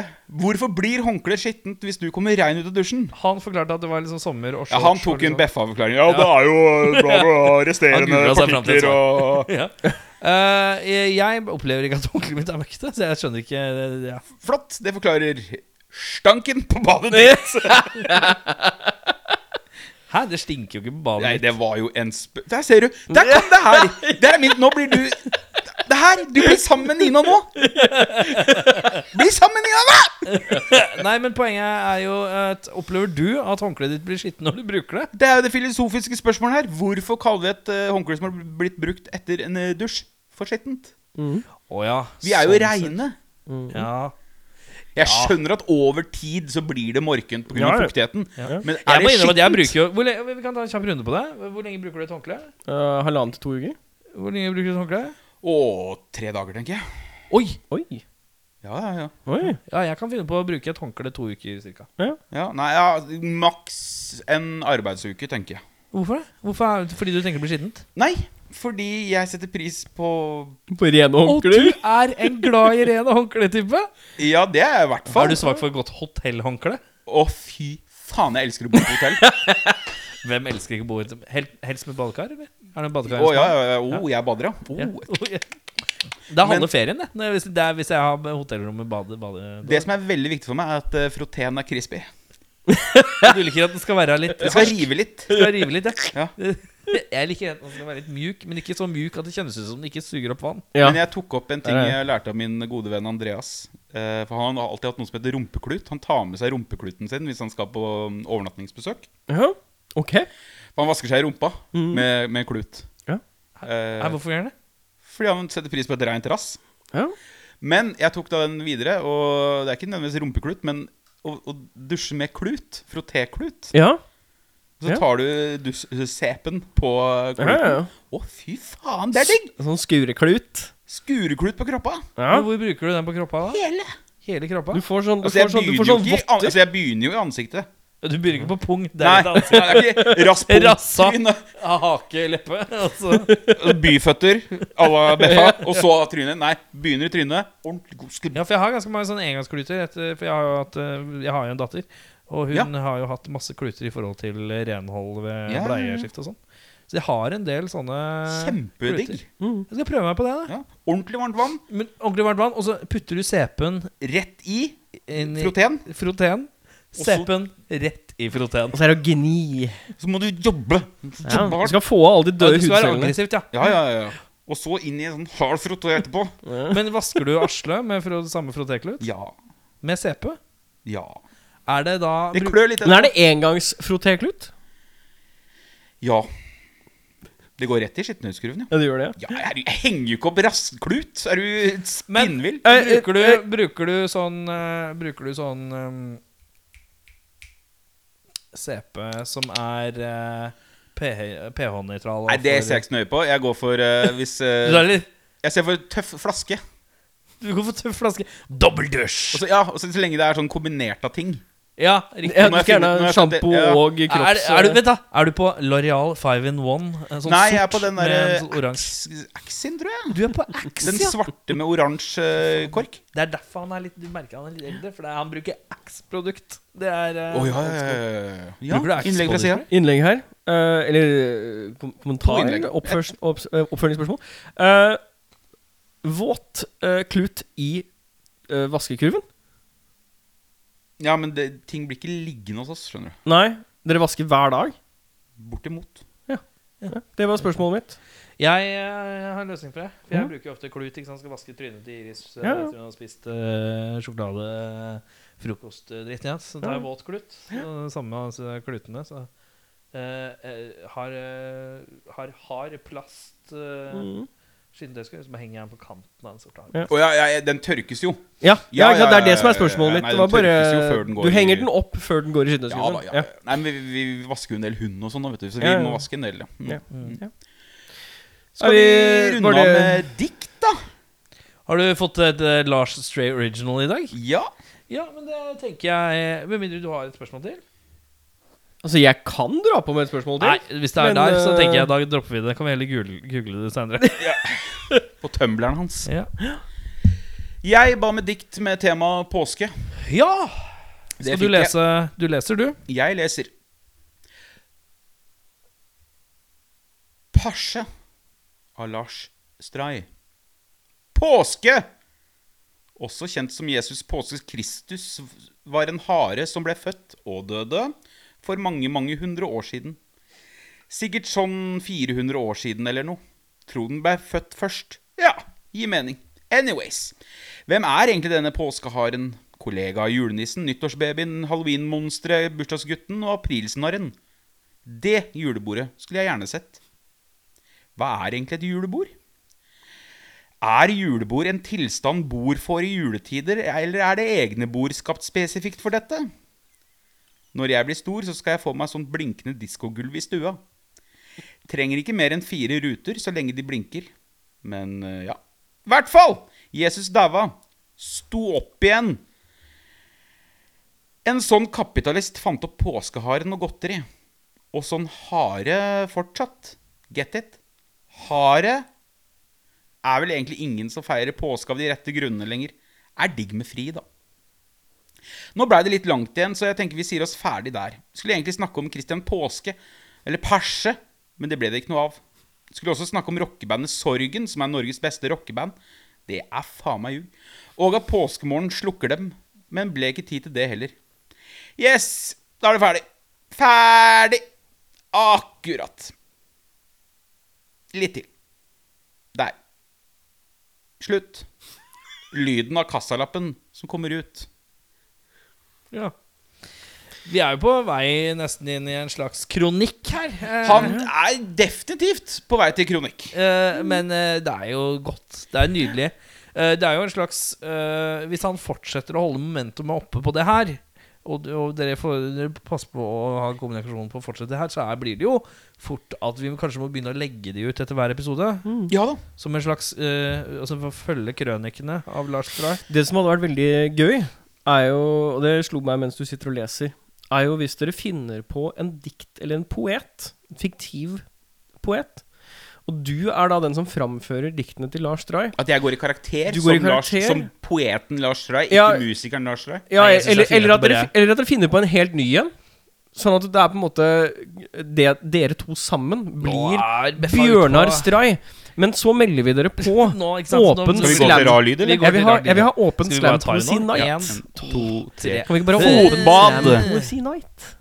Hvorfor blir håndkle skittent hvis du kommer rein ut av dusjen?
Han forklarte at det var liksom sommer og shorts.
Ja, Han tok
og
en
liksom-
beffa-forklaring. Ja, det er jo bla, bla,
Han
resterende
googlet seg fram til et
partikler og
Ja. Eh, jeg- jeg opplever ikke at onkelen min er møkkete, så jeg skjønner ikke det- det- ja.
Flott, det forklarer stanken på badet ditt.
Hæ, det stinker jo ikke på badet
Nei,
mitt.
det var jo en sp... Der ser du! Der kom det her! Der er min Nå blir du Det her! Du blir sammen med Nina nå! Bli sammen med Nina nå!
Nei, men poenget er jo at Opplever du at håndkleet ditt blir skittent når du bruker det?
Det er jo det filosofiske spørsmålet her. Hvorfor kaller vi et eh, håndkle som har blitt brukt etter en eh, dusj, for skittent?
Å ja.
Vi er jo
sånn
reine.
sett. Ja.
Jeg skjønner at over tid så blir det morkent pga.
Ja,
av
ja.
fuktigheten. Men
Jeg
er
må
det
innrømme at jeg
skittent?
bruker jo hvor lenge, Vi kan ta en kjapp runde på det. Hvor lenge bruker du et håndkle?
Eh, halvannen til to uker.
Hvor lenge bruker du et håndkle?
Å, tre dager, tenker jeg.
Oi!
Oi.
Ja, ja, ja.
Oi.
Ja, jeg kan finne på å bruke et håndkle to uker cirka.
ja nei, ja, maks en arbeidsuke, tenker jeg.
Hvorfor det? Hvorfor er, fordi du tenker det blir skittent?
Nei, fordi jeg setter pris på
På rene
Og du
håndklær.
er en glad i rene håndkletype!
Ja, det er jeg i hvert
Er
fall.
du svak for et godt hotellhåndkle?
Å, fy faen, jeg elsker å bo på hotell.
Hvem elsker ikke å bo i et hel- Helst med badekar, eller? Er det en
Å,
badekar?
ja, ja, ja. Å, jeg bader, ja.
Ja.
Å,
Oh, ja. Det er halve
Men-
ferien, det. Når jeg- Hvis, det er, hvis jeg har hotellrom med bade... bade
Det som er veldig viktig for meg, er at eh, froteen er crispy.
Du liker at den skal være litt
Det skal rive litt.
Skal rive litt, ja.
Ja.
Jeg liker at den skal være litt mjuk, men ikke så mjuk at det kjennes ut som den ikke suger opp vann.
Ja.
Men jeg tok opp en ting
Der er jeg.
jeg lærte av min gode venn Andreas. Eh, For Han har alltid hatt noe som heter rumpeklut. Han tar med seg rumpekluten sin hvis han skal på mm, overnattingsbesøk.
Ja. Ok.
For han vasker seg i rumpa
Mm.
Mhm.
med, med en klut.
Ja.
Eh,
Nei, hvorfor gjør den det?
fordi han setter pris på et rent rass.
Ja.
Men jeg tok da den videre, og det er ikke nødvendigvis rumpeklut, men å, å dusje med klut, frottéklut
ja.
Så
Ja.
tar du dus sepen på kluten.
ja, ja.
Å, fy faen, det er digg!
Sånn skureklut.
Skureklut på kroppa.
Ja.
Men Hvor bruker du den på kroppa, da? Hele. Hele kroppa?
Du får sånn, du
Altså, jeg
får sånn, du får
begynner,
sånn
jo ikke, i an-
votter.
altså, jeg begynner jo i ansiktet.
Du begynner ikke på pung. Det
Nei,
er et ansikt.
det er ikke rass på
Rassa.
trynet.
Av hake, leppe. Altså.
Byføtter à la Beffa, og så trynet. Nei, begynner i trynet. Ordentlig god skudd.
Ja, for jeg har ganske mange sånne engangskluter. Etter, for jeg har, jo hatt, eh, jeg har jo en datter, og hun
Ja.
har jo hatt masse kluter i forhold til eh, renhold ved
Ja, ja, ja.
bleieskift og sånn. Så jeg har en del sånne
Eh,
Kjempedigg.
Mm.
Jeg skal prøve meg på det. da
Ja. Ordentlig varmt vann.
Men Ordentlig varmt vann, og så putter du sepen
Rett i
inn i
protein.
froteen.
så-
Sepen rett i froteen.
Og så er det å gni.
Så må du jobbe.
Ja.
Jobbe
Du
hardt.
skal få av alle de
Ja,
døde
det skal være
hudcellene.
aggressivt, ja.
Ja, ja, ja. Og så inn i en sånn hard frotté etterpå.
Men vasker du Asle med fro samme frotéklut?
Ja.
Med CP?
Ja.
Er det da
Det
bruk-
klør litt.
Men er det engangsfrotéklut?
Ja. Det går rett i skittenhudskurven, ja.
Ja, det gjør det, ja.
Ja, er du, jeg henger jo ikke opp rassklut. Er du spinnvill?
Eh, eh,
Bruker du,
eh,
bruker du sånn eh, Bruker du sånn ehm, CP som er eh, PH pH-nøytral?
Nei, det ser jeg ikke så nøye på. Jeg går for eh, hvis eh,
Du, er litt,
Jeg ser for tøff flaske.
du går for tøff flaske. Dobbeldusj!
Og så, ja, og så, så lenge det er sånn kombinert av ting.
Ja, riktig.
Ja,
Nå
du
må jeg
skal
finne- nå må
gjerne ha
jeg finne-
sjampo
ja.
og
Er,
kropps...
er, du, vent da, er du på L'Oreal 5 in 1? En sånn
Nei, jeg er
sort
på den
med en sånn
derre
oransje.
Axin, tror jeg.
Du er på Axe,
Den
ja.
svarte med oransje eh, kork.
Det er derfor han er litt, du merker han er litt eldre. For det er, han bruker Axe-produkt. Det er eh,
Å ja, ja, ja, ja.
Bruker du
ja.
Axe
Innlegg
på
fra
det,
sida.
Innlegg her. eh, eller eh, kom kommentar.
To innlegg.
oppførs- opps- eh, oppfølgingsspørsmål. Eh, våt eh, klut i eh, vaskekurven?
Ja, men det, ting blir ikke liggende hos oss, skjønner du.
Nei, dere vasker hver dag.
Bortimot.
Ja, det var spørsmålet mitt.
Jeg, eh, jeg har en løsning for det. For jeg
Mhm.
bruker jo ofte klut. ikke sant? Skal vaske trynet til Iris eh,
Ja, ja.
etter hun har spist eh, sjokolade, frokostdritt. Ja. Så tar jeg våt klut. Og det Samme med disse klutene. Så. eh, eh, har, eh, har hard plast uh,
Mhm.
Mm.
skinntøyskøy som henger igjen på kanten av den sorte
Ja.
armen.
Å ja, ja, ja, den tørkes jo.
Ja, ja,
Ja,
ikke sant, det
ja,
er det som er
ja, ja, ja.
spørsmålet mitt.
Nei,
Det
den
var bare,
tørkes jo før den går
du henger
i-
den opp før den går i
Ja da,
skytterskuddet.
ja. ja. Nei, men vi, vi vi vasker jo en del hund og sånn, da, vet du, så vi
Ja, ja.
må vaske en del. ja. Mm.
Ja. Ja.
Skal
Er
vi
vi-
runde
var
av
det-
med dikt, da?
Har du fått et eh, Lars Stray Original i dag?
Ja.
Ja, men det tenker jeg Med mindre du har et spørsmål til?
Altså, jeg kan dra på med et spørsmål til.
Nei, hvis det er
Men,
der, så
eh,
tenker jeg da dropper vi det. Kan vi heller google, google det senere.
På tømbleren hans.
ja.
Jeg ba med dikt med tema påske.
ja!
Det
Skal du
fikk jeg.
lese Du leser, du?
Jeg leser Pasje av Lars Stray. Påske! Også kjent som Jesus påskes Kristus, var en hare som ble født og døde for mange, mange hundre år siden. Sikkert sånn 400 år siden eller noe. Tro den ble født først. Ja, gir mening. Anyways. Hvem er egentlig denne påskeharen? Kollega av julenissen, nyttårsbabyen, halloweenmonsteret, bursdagsgutten og aprilsnarren. Det julebordet skulle jeg gjerne sett. Hva er egentlig et julebord? Er julebord en tilstand bord får i juletider, eller er det egne bord skapt spesifikt for dette? Når jeg blir stor, så skal jeg få meg sånt blinkende diskogulv i stua. Trenger ikke mer enn fire ruter så lenge de blinker. Men eh, ja. I hvert fall! Jesus daua. Sto opp igjen. En sånn kapitalist fant opp påskeharen og godteri. Og sånn hare fortsatt. Get it? Hare er vel egentlig ingen som feirer påske av de rette grunnene lenger. Er digg med fri, da. Nå blei det litt langt igjen, så jeg tenker vi sier oss ferdig der. Skulle egentlig snakke om Christian Påske, eller Perse, men det ble det ikke noe av. Skulle også snakke om rockebandet Sorgen, som er Norges beste rockeband. Det er faen meg ljug. Og at påskemorgen slukker dem. Men ble ikke tid til det heller. Yes, da er det ferdig. Ferdig! Akkurat. Litt til. Der. Slutt. Lyden av kassalappen som kommer ut.
Ja. Vi er jo på vei nesten inn i en slags kronikk her. Eh,
Han er definitivt på vei til kronikk.
eh, men eh, det er jo godt. Det er nydelig. Eh, det er jo en slags eh, Hvis han fortsetter å holde momentumet oppe på det her, og, og dere, får, dere passer på å ha kommunikasjonen på å fortsette det her, så er, blir det jo fort at vi kanskje må begynne å legge de ut etter hver episode.
Ja da.
Som en slags eh, Altså for å følge krønikene av Lars Stray.
Det som hadde vært veldig gøy, er jo, og det slo meg mens du sitter og leser, er jo hvis dere finner på en dikt eller en poet, en fiktiv poet, og du er da den som framfører diktene til Lars Stray.
At jeg går i karakter,
Du går i
som,
karakter.
Lars, som poeten Lars Stray, ikke
Ja.
musikeren Lars Stray.
Ja,
Nei, jeg synes
eller,
det er
eller, at
fint at det
dere,
bare-
eller at dere finner på en helt ny en. Sånn at det er på en måte det, Dere to sammen blir Bjørnar Stray. Men så melder vi dere på
Nå, ikke sant? Nå-
åpen
Skal
Skal vi gå til
slam.
rar lyd,
Vi
eller?
går
Jeg vil
til
ha,
rar lyd.
jeg vil ha åpen
Skal vi bare ta det
slam-poesi
nå?
night.
En, to, tre.
Kan vi ikke bare ha
Fotbad.
åpen slam-poesi night?